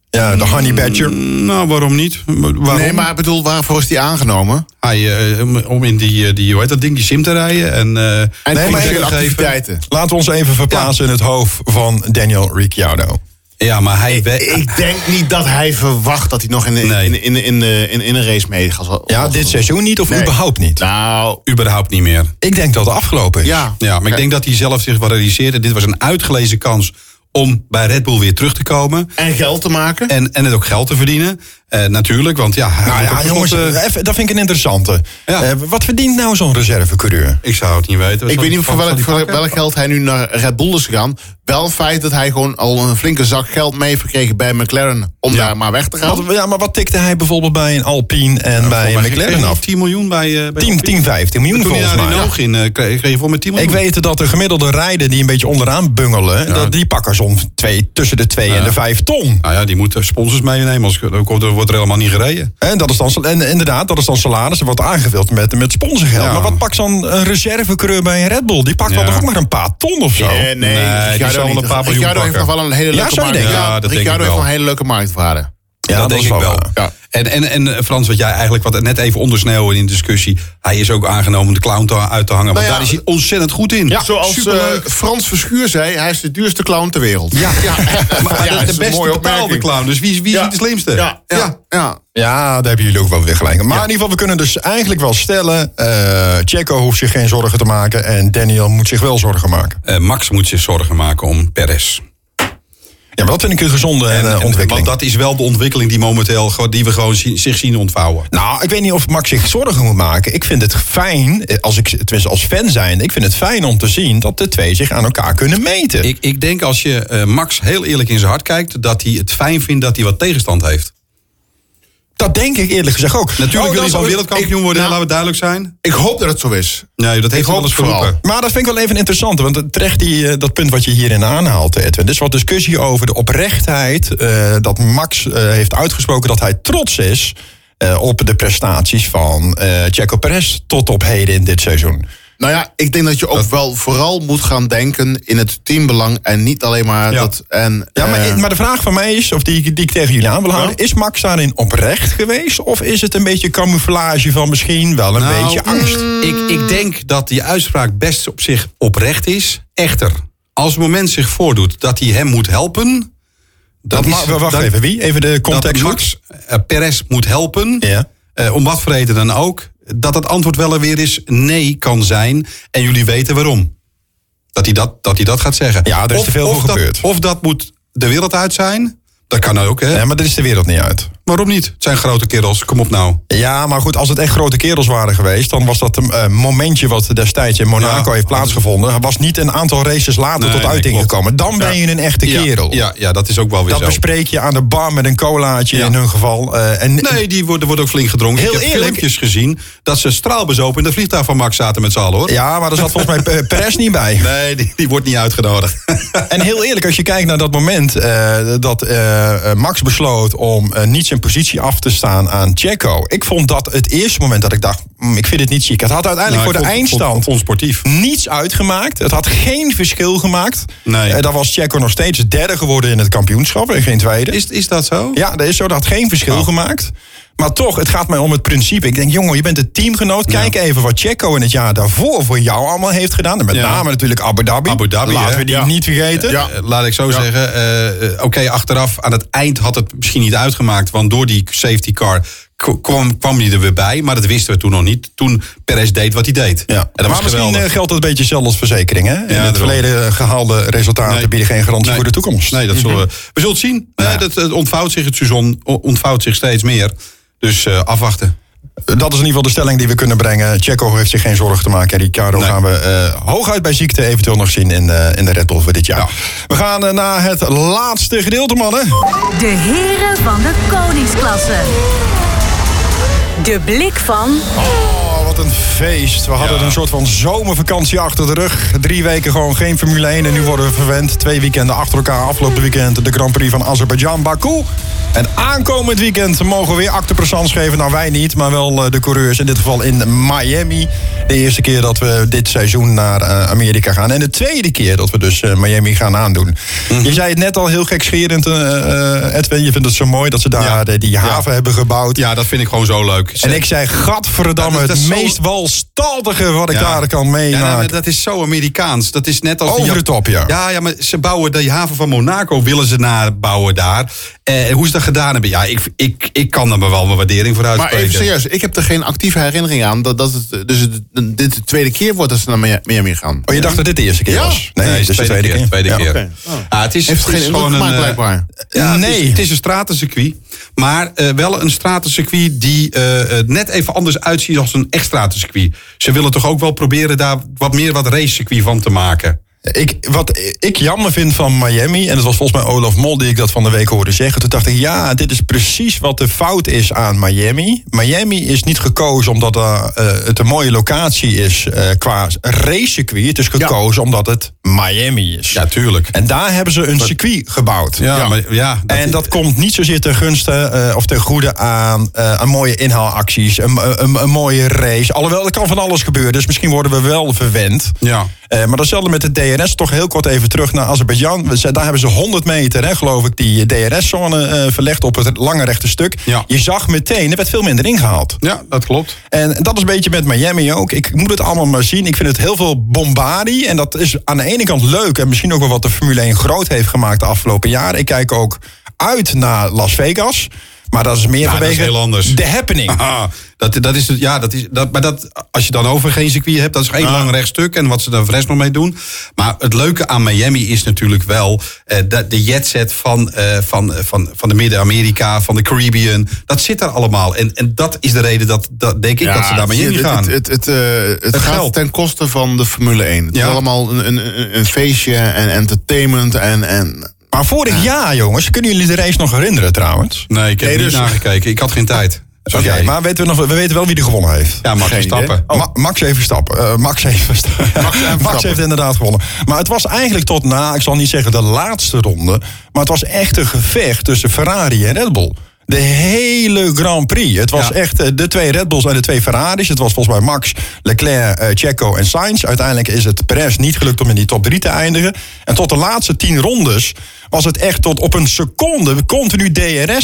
A: ja, de Honey Badger?
C: Nou, waarom niet? Waarom?
B: Nee, maar ik bedoel, waarvoor is die aangenomen?
C: Hij, eh, om- om in die, eh, die, hoe heet dat ding, die sim te rijden. En, eh,
B: En
A: Nee,
B: nee,
A: maar even-
B: activiteiten.
A: Laten we ons even verplaatsen in het hoofd van Daniel Ricciardo.
C: ja, maar hij... we-
B: Ik denk niet dat hij verwacht dat hij nog in, de-
C: Ah. Nee.
B: in, in, in, de- in, in een race mee gaat.
A: Ja, dit seizoen niet of
B: Nee.
A: überhaupt niet?
B: Nou,
C: überhaupt niet meer.
A: Ik denk dat het afgelopen is.
B: ja.
C: Ja, maar ik denk dat hij zelf zich wel realiseerde. Dit was een uitgelezen kans om bij Red Bull weer terug te komen.
B: En geld te maken.
C: En, en het ook geld te verdienen. Eh, natuurlijk, want ja... hij
A: Nou
C: moet
A: ja,
C: ook
A: jongens,
C: nog, eh,
A: even, dat vind ik een interessante.
C: Ja.
A: Eh, wat verdient nou zo'n reservecoureur?
C: ik zou het niet weten.
B: ik weet niet voor
C: Van- van
B: welk,
C: die
B: voor
C: pakken.
B: welk geld hij nu naar Red Bull is gegaan. Wel het feit dat hij gewoon al een flinke zak geld mee heeft gekregen bij McLaren. Om daar maar weg te gaan.
A: Wat- ja, maar wat tikte hij bijvoorbeeld bij een Alpine en bij een
C: Volgens mij kreeg
A: McLaren
C: hij
A: af?
C: 10 miljoen bij... eh bij
A: 10, 10, 15 miljoen
C: Toen hij
A: volgens
C: daar in
A: mij.
C: Oog in eh, kreeg, kreeg je voor met 10
A: Ik
C: miljoen.
A: weet dat de gemiddelde rijden die een beetje onderaan bungelen... Dat, die pakken zo'n twee, tussen de 2 en de 5 ton.
C: Nou ja, die moeten sponsors meenemen. Als, ook wordt er helemaal niet gereden.
A: En dat is dan, sal- en inderdaad, dat is dan salaris. Er wordt aangevuld met, met sponsorgeld.
C: Ja.
A: Maar wat pakt zo'n een reservecoureur bij een Red Bull? Die pakt
C: Ja.
A: wel toch ook maar een paar ton of zo?
B: Eh,
C: Oh, Nee, die
B: Ricciardo
C: zal wel
B: niet.
C: een paar miljoen
B: Ricciardo heeft
C: pakken.
B: nog wel een hele
A: Ja,
B: leuke
A: zou je
B: markt.
A: denken?
C: Ja, dat denk
B: Ricciardo
C: ik
B: heeft
C: wel.
B: wel een hele leuke marktwaarde.
A: Ja, dat
C: dat, denk
A: is
C: ik
A: wel
C: wel.
A: waar.
C: Ja. En, en, en eh, Frans, wat jij eigenlijk wat net even ondersneeuwde in de discussie. Hij is ook aangenomen om de clown te, uit te hangen. Want
B: Nou ja,
C: daar is hij ontzettend goed in.
B: Zoals eh,
C: Superleuk.
B: Frans Verschuur zei, hij is de duurste clown ter wereld. eh, Ja,
C: maar
B: dat is
C: de,
B: een
C: de beste
B: mooie
C: betaalde
B: opmerking.
C: clown. Dus wie, is- wie is de slimste?
B: Ja, ja, ja.
A: Ja, daar hebben jullie ook wel weer gelijk. in. Maar in ieder geval, we kunnen dus eigenlijk wel stellen... eh Checo hoeft zich geen zorgen te maken... en Daniel moet zich wel zorgen maken.
C: Eh, Max moet zich zorgen maken om Perez.
A: Ja, maar dat vind ik een gezonde eh,
C: En- en-
A: ontwikkeling.
C: Want dat is wel de ontwikkeling die momenteel gewoon- die we gewoon zien- zich zien ontvouwen.
A: Nou, ik weet niet of Max zich zorgen moet maken. Ik vind het fijn, eh, als ik, tenminste als fan zijn, ik vind het fijn om te zien dat de twee zich aan elkaar kunnen meten.
C: Ik, ik denk als je eh, Max heel eerlijk in zijn hart kijkt, dat hij het fijn vindt dat hij wat tegenstand heeft.
A: dat denk ik eerlijk gezegd ook.
C: Natuurlijk
A: Oh,
C: wil
A: dat
C: hij
A: is
C: gewoon
A: ook-
C: wereldkampioen
A: ik-
C: worden,
A: nou,
C: laten we duidelijk zijn.
B: Ik hoop dat het zo is.
C: Nee, dat heeft hij
B: hoop
C: wel eens
B: het vooral.
C: geroepen.
A: maar dat vind ik wel even interessant, want het terecht die, eh, dat punt wat je hierin aanhaalt, eh, Edwin. Er is wat discussie over de oprechtheid eh, dat Max eh, heeft uitgesproken dat hij trots is eh, op de prestaties van eh Checo Perez tot op heden in dit seizoen.
B: Nou ja, ik denk dat je ook wel vooral moet gaan denken in het teambelang en niet alleen maar
A: Ja.
B: dat. En,
A: Ja, maar,
B: eh,
A: maar de vraag van mij is, of die, die ik tegen jullie aan wil houden... is Max daarin oprecht geweest? Of is het een beetje camouflage van misschien wel een
C: Nou,
A: beetje angst?
C: Ik, ik denk dat die uitspraak best op zich oprecht is. Echter, als het moment zich voordoet dat hij hem moet helpen.
A: Dat
C: is-
A: ma- wacht
C: dat-
A: even, wie? Even de
C: Dat
A: context.
C: Max eh, Perez moet helpen.
A: Ja.
C: eh, om wat voor reden dan ook. Dat het antwoord wel er weer is nee kan zijn. En jullie weten waarom. Dat hij dat, dat, hij dat gaat zeggen.
A: Ja, er is te veel voor
C: dat-
A: gebeurd.
C: Of dat moet de wereld uit zijn. Dat kan ook, hè?
A: Nee, maar dat is de wereld niet uit.
C: Waarom niet? Het zijn grote kerels, kom op nou.
A: Ja, maar goed, als het echt grote kerels waren geweest... dan was dat een eh, momentje wat destijds in Monaco
C: Ja.
A: heeft plaatsgevonden... was niet een aantal races later
C: Nee,
A: tot
C: nee,
A: uiting
C: klopt.
A: gekomen. Dan ben je een echte
C: Ja,
A: kerel.
C: Ja, ja, dat is ook wel weer
A: Dat
C: zo.
A: bespreek je aan de bar met een colaatje
C: Ja.
A: in hun geval. eh, en
C: Nee, die wordt, er wordt ook flink gedronken.
A: Heel
C: ik heb
A: eerlijk.
C: filmpjes gezien dat ze straalbezopen in de vliegtuig van Max zaten met z'n allen, hoor.
A: Ja, maar daar zat volgens mij eh, Perez niet bij.
C: Nee, die, die wordt niet uitgenodigd.
A: En heel eerlijk, als je kijkt naar dat moment eh, dat eh, eh, Max besloot om eh, niet zijn positie af te staan aan Checo. Ik vond dat het eerste moment dat ik dacht, "Mm, ik vind het niet chic. Het had
C: Nou,
A: uiteindelijk voor de eindstand
C: Onsportief.
A: niets uitgemaakt. Het had geen verschil gemaakt.
C: Nee.
A: Eh, dan was Checo nog steeds derde geworden in het kampioenschap en geen tweede.
C: Is, is dat zo?
A: Ja, dat is zo. Dat had geen verschil
C: Oh.
A: gemaakt. Maar toch, het gaat mij om het principe. Ik denk, jongen, je bent een teamgenoot. Kijk even wat Checo in het jaar daarvoor voor jou allemaal heeft gedaan. En met
B: Ja.
A: name natuurlijk Abu Dhabi.
C: Abu Dhabi,
A: Laten
C: hè?
A: we die
B: Ja.
A: niet vergeten.
B: Ja.
C: Eh, laat ik zo zeggen. eh, eh, Oké, achteraf aan het eind had het misschien niet uitgemaakt. Want door die safety car k- kwam, kwam hij er weer bij. Maar dat wisten we toen nog niet. Toen Perez deed wat hij deed. En dat
A: maar
C: was
A: misschien
C: geweldig.
A: eh, geldt dat een beetje zelfs als verzekering. Hè? In
C: dat
A: het
C: wel.
A: verleden gehaalde resultaten
C: Nee.
A: bieden geen garantie
C: Nee.
A: voor de toekomst.
C: Nee, dat zullen
A: Mhm.
C: we. We zullen het zien. Eh, dat, het ontvouwt zich, het seizoen o- ontvouwt zich steeds meer. Dus eh, afwachten.
A: Dat is in ieder geval de stelling die we kunnen brengen. Checo heeft zich geen zorgen te maken. En Ricciardo
C: Nee.
A: gaan we eh, hooguit bij ziekte eventueel nog zien in, eh, in de Red Bull voor dit jaar. We gaan eh, naar het laatste gedeelte, mannen.
D: De heren van de koningsklasse. De blik van
A: Oh, wat een feest. We hadden een soort van zomervakantie achter de rug. Drie weken gewoon geen Formule 1 en nu worden we verwend. Twee weekenden achter elkaar. Afgelopen weekend de Grand Prix van Azerbeidzjan, Baku. En aankomend weekend mogen we weer acte présence geven. Nou, wij niet, maar wel eh, de coureurs. In dit geval in Miami. De eerste keer dat we dit seizoen naar eh, Amerika gaan. En de tweede keer dat we dus eh, Miami gaan aandoen.
C: Mhm.
A: Je zei het net al heel gekscherend, eh, eh, Edwin. Je vindt het zo mooi dat ze daar
C: Ja.
A: de- die haven hebben gebouwd.
C: Ja, dat vind ik gewoon zo leuk.
A: En ik zei, gadverdamme,
C: Ja, dat- dat
A: het
C: is zo-
A: meest walstaltige wat ik
C: Ja.
A: daar kan
C: Ja,
A: meemaken.
C: nou, dat is zo Amerikaans. Dat is net als die
A: Over de top, ja.
C: ja. Ja, maar ze bouwen de haven van Monaco, willen ze nabouwen daar. Eh, hoe ze dat gedaan hebben, ja, ik, ik, ik kan er maar wel mijn waardering voor
B: Maar
C: uitspreken.
B: even serieus, ik heb er geen actieve herinnering aan dat, dat het dus het- dit de tweede keer wordt dat ze naar Mia- Miami gaan.
A: oh, je dacht dat dit de eerste keer
B: Ja.
A: was?
C: Nee, het is de tweede keer. Tweede
A: Ja.
C: keer.
B: Oké. Oh.
C: Ah, het is,
B: Heeft
C: het
B: geen
C: is
B: indruk
C: gewoon een.
B: gemaakt,
C: eh,
B: blijkbaar.
C: Ja, nee. Het
A: Nee.
C: is, het is een stratencircuit. Maar eh, wel een stratencircuit die eh, eh, net even anders uitziet als een echt stratencircuit. Ze willen toch ook wel proberen daar wat meer wat racecircuit van te maken.
A: Ik, wat ik jammer vind van Miami, en het was volgens mij Olaf Mol die ik dat van de week hoorde zeggen. Toen dacht ik, ja, dit is precies wat de fout is aan Miami. Miami is niet gekozen omdat eh, eh, het een mooie locatie is eh, qua racecircuit. Het is gekozen omdat het Miami is.
C: Ja, tuurlijk.
A: En daar hebben ze een circuit gebouwd.
C: Ja, maar ja.
A: en dat komt niet zozeer ten gunste eh, of ten goede aan, eh, aan mooie inhaalacties, een, eh, een, een mooie race. Alhoewel, er kan van alles gebeuren, dus misschien worden we wel verwend.
C: Ja.
A: Eh, maar datzelfde met de DRS, toch heel kort even terug naar Azerbeidzjan. We zijn- Daar hebben ze 100 meter, hè, geloof ik, die DRS-zone eh, verlegd op het lange rechte stuk.
C: Ja.
A: Je zag meteen, er werd veel minder ingehaald.
C: ja, dat klopt.
A: En dat is een beetje met Miami ook. Ik moet het allemaal maar zien. Ik vind het heel veel bombardie. En dat is aan de ene kant leuk. En misschien ook wel wat de Formule 1 groot heeft gemaakt de afgelopen jaren. Ik kijk ook uit naar Las Vegas. Maar dat is meer
C: dat is
A: vanwege
C: heel anders.
A: de happening.
C: Ah, dat, dat is het, ja, dat is, dat, maar dat, als je dan over geen circuit hebt, dat is één lang rechtstuk. En wat ze daar voor de rest nog mee doen. Maar het leuke aan Miami is natuurlijk wel eh, dat de jetset van, eh, van, van, van de Midden-Amerika, van de Caribbean. Dat zit daar allemaal. En, en dat is de reden dat, dat denk ik, dat ze naar Miami
B: het,
C: gaan.
B: Het, het, het, eh, het
C: Het
B: gaat
C: geld.
B: ten koste van de Formule 1. Het
C: Ja.
B: is allemaal een, een- een, een feestje en entertainment en... en
A: Maar vorig jaar, jongens, kunnen jullie de race nog herinneren trouwens?
C: nee, ik heb
B: Nee,
C: niet
B: dus-
C: nagekeken. Ik had geen tijd. Zoals
A: Oké,
C: jij.
A: maar weten we, nog, we weten wel wie er gewonnen heeft.
C: ja, Max
B: Geen idee.
C: Verstappen.
A: Ma- Max even stappen. Eh, Max even stappen. Max,
B: Verstappen.
A: heeft inderdaad gewonnen. Maar het was eigenlijk tot na, ik zal niet zeggen de laatste ronde. Maar het was echt een gevecht tussen Ferrari en Red Bull. De hele Grand Prix. Het was
C: Ja.
A: echt eh, de twee Red Bulls en de twee Ferraris. Het was volgens mij Max, Leclerc, eh, Checo en Sainz. Uiteindelijk is het Perez niet gelukt om in die top drie te eindigen. En tot de laatste tien rondes was het echt tot op een seconde continu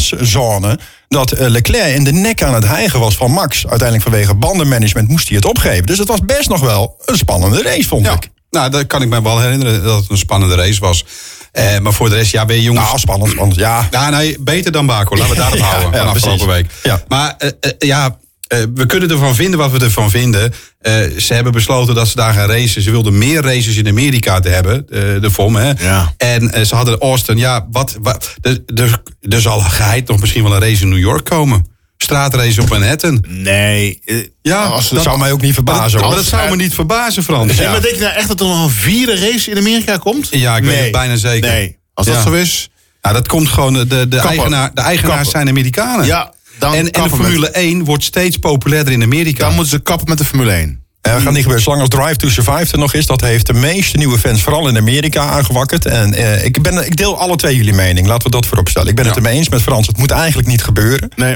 A: DRS-zone. Dat eh, Leclerc in de nek aan het hijgen was van Max. Uiteindelijk vanwege bandenmanagement moest hij het opgeven. Dus het was best nog wel een spannende race, vond ik.
C: Nou, dat kan ik me wel herinneren dat het een spannende race was. Eh, maar voor de rest, ja, ben je jongens.
A: Nou, spannend, spannend. Ja,
C: Ja, nee, beter dan Baco. Laten we daarop
A: Ja,
C: houden
A: ja,
C: van afgelopen
A: precies.
C: week.
A: Ja.
C: Maar eh, eh, ja, eh, we kunnen ervan vinden wat we ervan vinden. Eh, ze hebben besloten dat ze daar gaan racen. Ze wilden meer races in Amerika te hebben, eh, de VOM. Hè?
B: Ja.
C: En eh, ze hadden Austin. Ja, wat, wat, er, er, er zal geheid nog misschien wel een race in New York komen. Straatrace op Manhattan.
B: nee. eh,
C: Ja,
B: als
A: Oh, dat
B: dat,
A: zou mij ook niet
C: Maar
A: verbazen.
C: dat, maar
A: hoor.
C: dat zou me niet verbazen, Frans.
B: Ja, maar denk je nou echt dat er nog een vierde race in Amerika komt?
C: Ja, ik weet het bijna zeker.
B: Nee. Als
C: Ja.
B: dat zo is...
C: Ja, dat komt gewoon, de- de, de, eigenaar, de eigenaars
B: Kappen.
C: zijn Amerikanen.
B: Ja, dan
C: en, en de
B: kappen
C: Formule 1 wordt steeds populairder in Amerika.
B: Dan moeten ze kappen met de Formule 1.
A: Ja, dat Eh, gaat niet gebeuren. Zolang als Drive to Survive er nog is, dat heeft de meeste nieuwe fans vooral in Amerika aangewakkerd. En eh, ik, ben, ik deel alle twee jullie mening. Laten we dat vooropstellen. Ik ben het ermee eens met Frans. Het moet eigenlijk niet gebeuren.
B: Nee.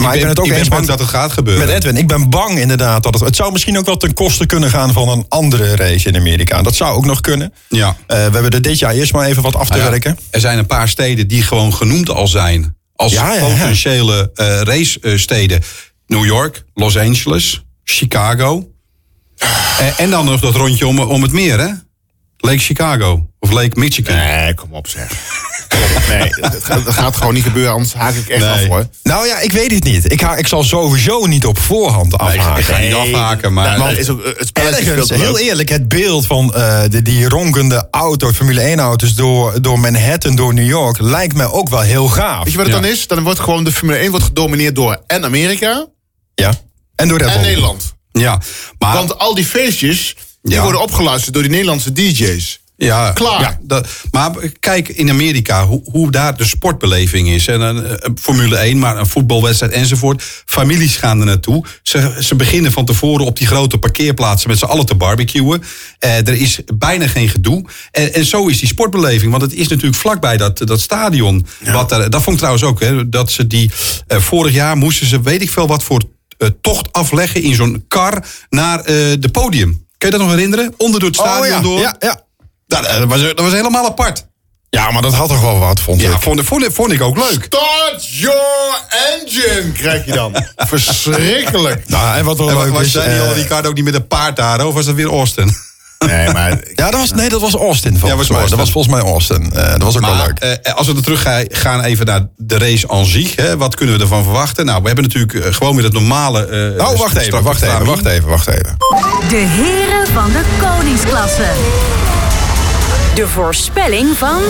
A: Maar ik ben, het ook eens
C: bang
A: met,
C: dat het eh, gaat gebeuren.
A: met Edwin. Ik ben bang inderdaad dat het. Het zou misschien ook wel ten koste kunnen gaan van een andere race in Amerika. Dat zou ook nog kunnen.
C: Ja.
A: Eh, we hebben er dit jaar eerst maar even wat af te
C: Nou ja,
A: werken.
C: Er zijn een paar steden die gewoon genoemd al zijn als
A: Ja, ja, ja.
C: potentiële eh, racesteden. New York, Los Angeles, Chicago. Eh, en dan nog dat rondje om, om het meer, hè? Lake Chicago of Lake Michigan.
B: Nee, kom op zeg. Kom op, nee, dat gaat, dat gaat gewoon niet gebeuren, anders haak ik echt af hoor.
A: Nou ja, ik weet het niet. Ik, ha- ik zal sowieso niet op voorhand afhaken.
C: Ah, ik ga niet
B: Nee,
C: afhaken, maar...
B: Nou, dat is ook, eh, het spelletje
A: Ergens,
B: speelt wel
A: heel
B: leuk.
A: eerlijk, het beeld van eh, de, die ronkende auto, Formule 1 auto's door, door Manhattan, door New York, lijkt mij ook wel heel gaaf.
B: Weet je wat het
C: Ja.
B: dan is? Dan wordt gewoon de Formule 1 wordt gedomineerd door en Amerika
A: Ja. En door Red
B: en
A: Bull.
B: Nederland.
C: ja, maar...
B: Want al die feestjes, die
C: Ja.
B: worden opgeluisterd door die Nederlandse DJ's.
C: Ja,
B: Klaar.
C: ja, dat- maar kijk in Amerika hoe, hoe daar de sportbeleving is. En, eh, eh, Formule 1, maar een voetbalwedstrijd enzovoort. Families gaan er naartoe. Ze, ze beginnen van tevoren op die grote parkeerplaatsen met z'n allen te barbecuen. Eh, er is bijna geen gedoe. En, en zo is die sportbeleving. Want het is natuurlijk vlakbij dat, dat stadion. Wat daar, dat vond ik trouwens ook. Hè, dat ze die eh, vorig jaar moesten ze weet ik veel wat voor eh, tocht afleggen in zo'n kar naar eh de podium. Kun je dat nog herinneren? Onder door het stadion
A: Oh ja,
C: door.
A: ja, ja.
C: Nou, dat, was, dat was helemaal apart.
A: Ja, maar dat had toch wel wat, vond
C: Ja,
A: ik.
C: vond, vond, vond ik ook leuk.
B: Start your engine, krijg je dan. Verschrikkelijk.
A: Nou, en wat wel
C: En was
A: leuk
C: was
A: is...
C: Daniel
A: eh,
C: Ricciardo ook niet met een paard daar? Of was dat weer Austin?
B: Nee, maar
A: ja, dat was, nee, dat was Austin
C: Ja, was
A: volgens mij.
C: Austin.
A: Dat was volgens mij Austin. Eh, dat was ook wel
C: Maar
A: leuk.
C: eh, als we er terug ga- gaan even naar de race aan zich. Hè, wat kunnen we ervan verwachten? Nou, we hebben natuurlijk eh, gewoon weer het normale... eh,
A: oh, wacht even,
C: strak-
A: wacht even,
C: stramien.
A: wacht even, wacht even.
D: De heren van de koningsklasse. De voorspelling van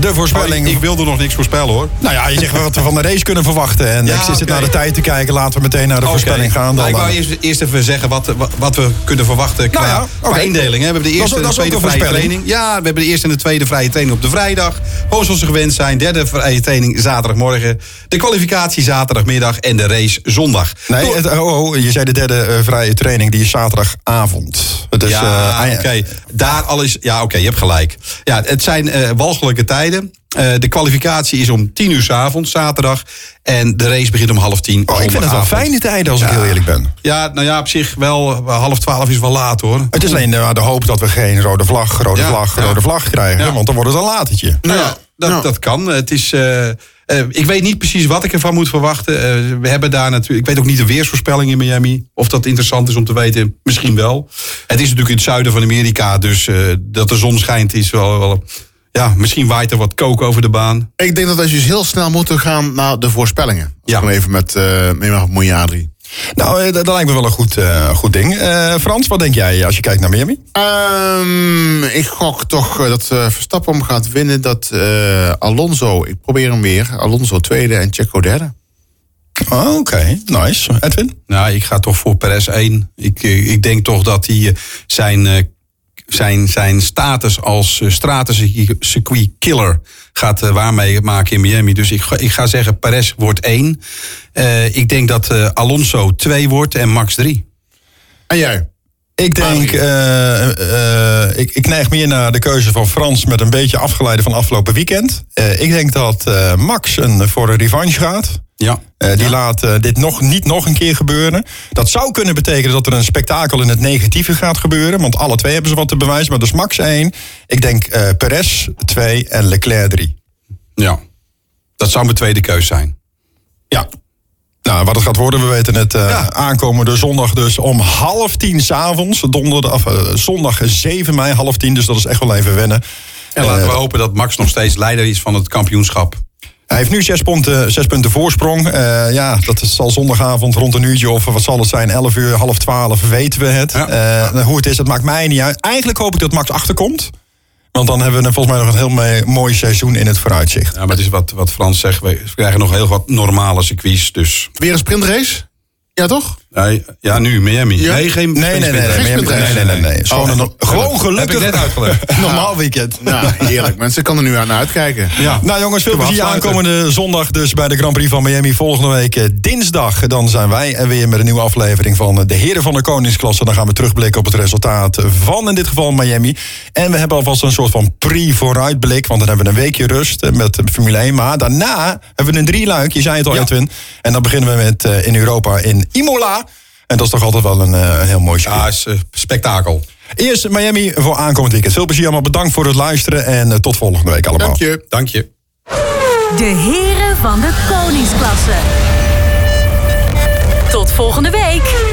A: De voorspelling...
C: Ik, ik wilde nog niks voorspellen hoor.
A: nou ja, je zegt wat we van de race kunnen verwachten. En
C: Ja,
A: ik zit
C: oké.
A: naar de tijd te kijken. Laten we meteen naar de voorspelling gaan. Dan,
C: Maar Nou, ik wou
A: dan. Nou
C: eerst, eerst even zeggen wat, wat, wat we kunnen verwachten qua,
A: ja,
C: qua
A: oké.
C: indeling. Hè. We hebben de
A: Dat is
C: eerste
A: ook-
C: en de
A: dat is ook
C: tweede
A: een
C: vrije
A: voorspelling.
C: training. Ja, we hebben de eerste en de tweede vrije training op de vrijdag. Gewoon zoals ze gewend zijn. Derde vrije training zaterdagmorgen. De kwalificatie zaterdagmiddag en de race zondag.
A: Nee,
C: Door-
A: het, oh, oh, je zei de derde eh, vrije training, die is zaterdagavond. Dus,
C: ja,
A: eh,
C: oké. Daar alles. Ja, oké, je hebt gelijk. Ja, het zijn eh, walgelijke tijden. Eh, de kwalificatie is om tien uur 's avonds, zaterdag. En de race begint om half tien.
A: Oh, ik vind het wel fijne tijden, als ik heel eerlijk ben.
C: Ja, nou ja, op zich wel. eh, Half twaalf is wel laat hoor.
A: Het is alleen eh, de hoop dat we geen rode vlag, rode
C: Ja,
A: vlag,
C: ja.
A: rode vlag krijgen.
C: Ja.
A: Want dan wordt het een latertje.
C: Nou ja, dat, dat kan. Het is, eh, eh, ik weet niet precies wat ik ervan moet verwachten. Eh, we hebben daar natuurlijk. Ik weet ook niet de weersvoorspelling in Miami. Of dat interessant is om te weten. Misschien wel. Het is natuurlijk in het zuiden van Amerika. Dus eh, dat de zon schijnt is wel. wel ja, misschien waait er wat kook over de baan.
B: ik denk dat we dus heel snel moeten gaan naar de voorspellingen. Als
C: Ja.
B: ik hem even met eh mee mag bemoeien, Adrie.
A: Nou, eh, dat, dat lijkt me wel een goed, eh, goed ding. Eh, Frans, wat denk jij als je kijkt naar Miami?
B: Ehm, ik gok toch eh, dat eh, Verstappen hem gaat winnen. Dat eh, Alonso, ik probeer hem weer. Alonso tweede en Checo derde.
A: Oh, Oké, nice. Edwin?
C: Nou, ik ga toch voor Perez 1. Ik, eh, ik denk toch dat hij eh, zijn, eh, zijn, zijn status als eh, stratencircuit killer gaat eh, waarmaken in Miami. Dus ik, ga- ik ga zeggen Perez wordt 1. Eh, ik denk dat eh, Alonso 2 wordt en Max 3.
B: En jij?
A: Ik denk, eh, eh, ik, ik neig meer naar de keuze van Frans met een beetje afgeleide van afgelopen weekend. Eh, ik denk dat eh, Max een, voor een revanche gaat.
C: Ja.
A: Eh, die laat eh, dit nog, niet nog een keer gebeuren. Dat zou kunnen betekenen dat er een spektakel in het negatieve gaat gebeuren. Want alle twee hebben ze wat te bewijzen. Maar dus Max 1. Ik denk eh Perez 2 en Leclerc 3.
C: ja. Dat zou mijn tweede keus zijn.
A: Ja. Nou, wat het gaat worden, we weten het eh, aankomende zondag dus om half tien s'avonds. Donderdag, of, eh, zondag 7 mei, half tien. Dus dat is echt wel even wennen.
C: En laten we hopen dat Max nog steeds leider is van het kampioenschap.
A: Hij heeft nu zes punten, zes punten voorsprong. Eh, ja, dat zal zondagavond rond een uurtje of wat zal het zijn, 11 uur, half 12, weten we het.
C: Ja.
A: Eh, Hoe het is, dat maakt mij niet uit. Eigenlijk hoop ik dat Max achterkomt. Want dan hebben we er volgens mij nog een heel me- mooi seizoen in het vooruitzicht.
C: Ja, maar het is wat, wat Frans zegt. We krijgen nog heel wat normale circuits. Dus
B: Weer een sprintrace? Ja, toch?
C: Nee, ja, nu Miami.
B: Ja.
C: Nee, geen Oh,
A: Nee, nee, nee, nee, nee, nee, nee, nee, nee, nee. Gewoon, een- gewoon gelukkig.
C: Heb ik net uitgelegd.
A: Normaal weekend.
B: Nou, heerlijk. Mensen kan er nu aan uitkijken.
C: Ja.
A: Nou jongens, veel
C: Kunnen we
A: plezier
C: afsluiten.
A: aankomende zondag dus bij de Grand Prix van Miami. Volgende week eh, dinsdag, dan zijn wij er weer met een nieuwe aflevering van eh, de Heren van de Koningsklasse. Dan gaan we terugblikken op het resultaat van in dit geval Miami. En we hebben alvast een soort van pre-vooruitblik, want dan hebben we een weekje rust eh, met de Formule 1. Maar daarna hebben we een drieluik, je zei het al
C: Ja.
A: Edwin. En dan beginnen we met eh, in Europa in Imola. En dat is toch altijd wel een eh, heel mooi circuit.
C: Ja, is eh, spektakel.
A: Eerst Miami voor aankomend weekend. Veel plezier allemaal, bedankt voor het luisteren en eh, tot volgende week allemaal.
B: Dank je.
C: Dank Oh, je.
D: De heren van de koningsklasse. Tot volgende week.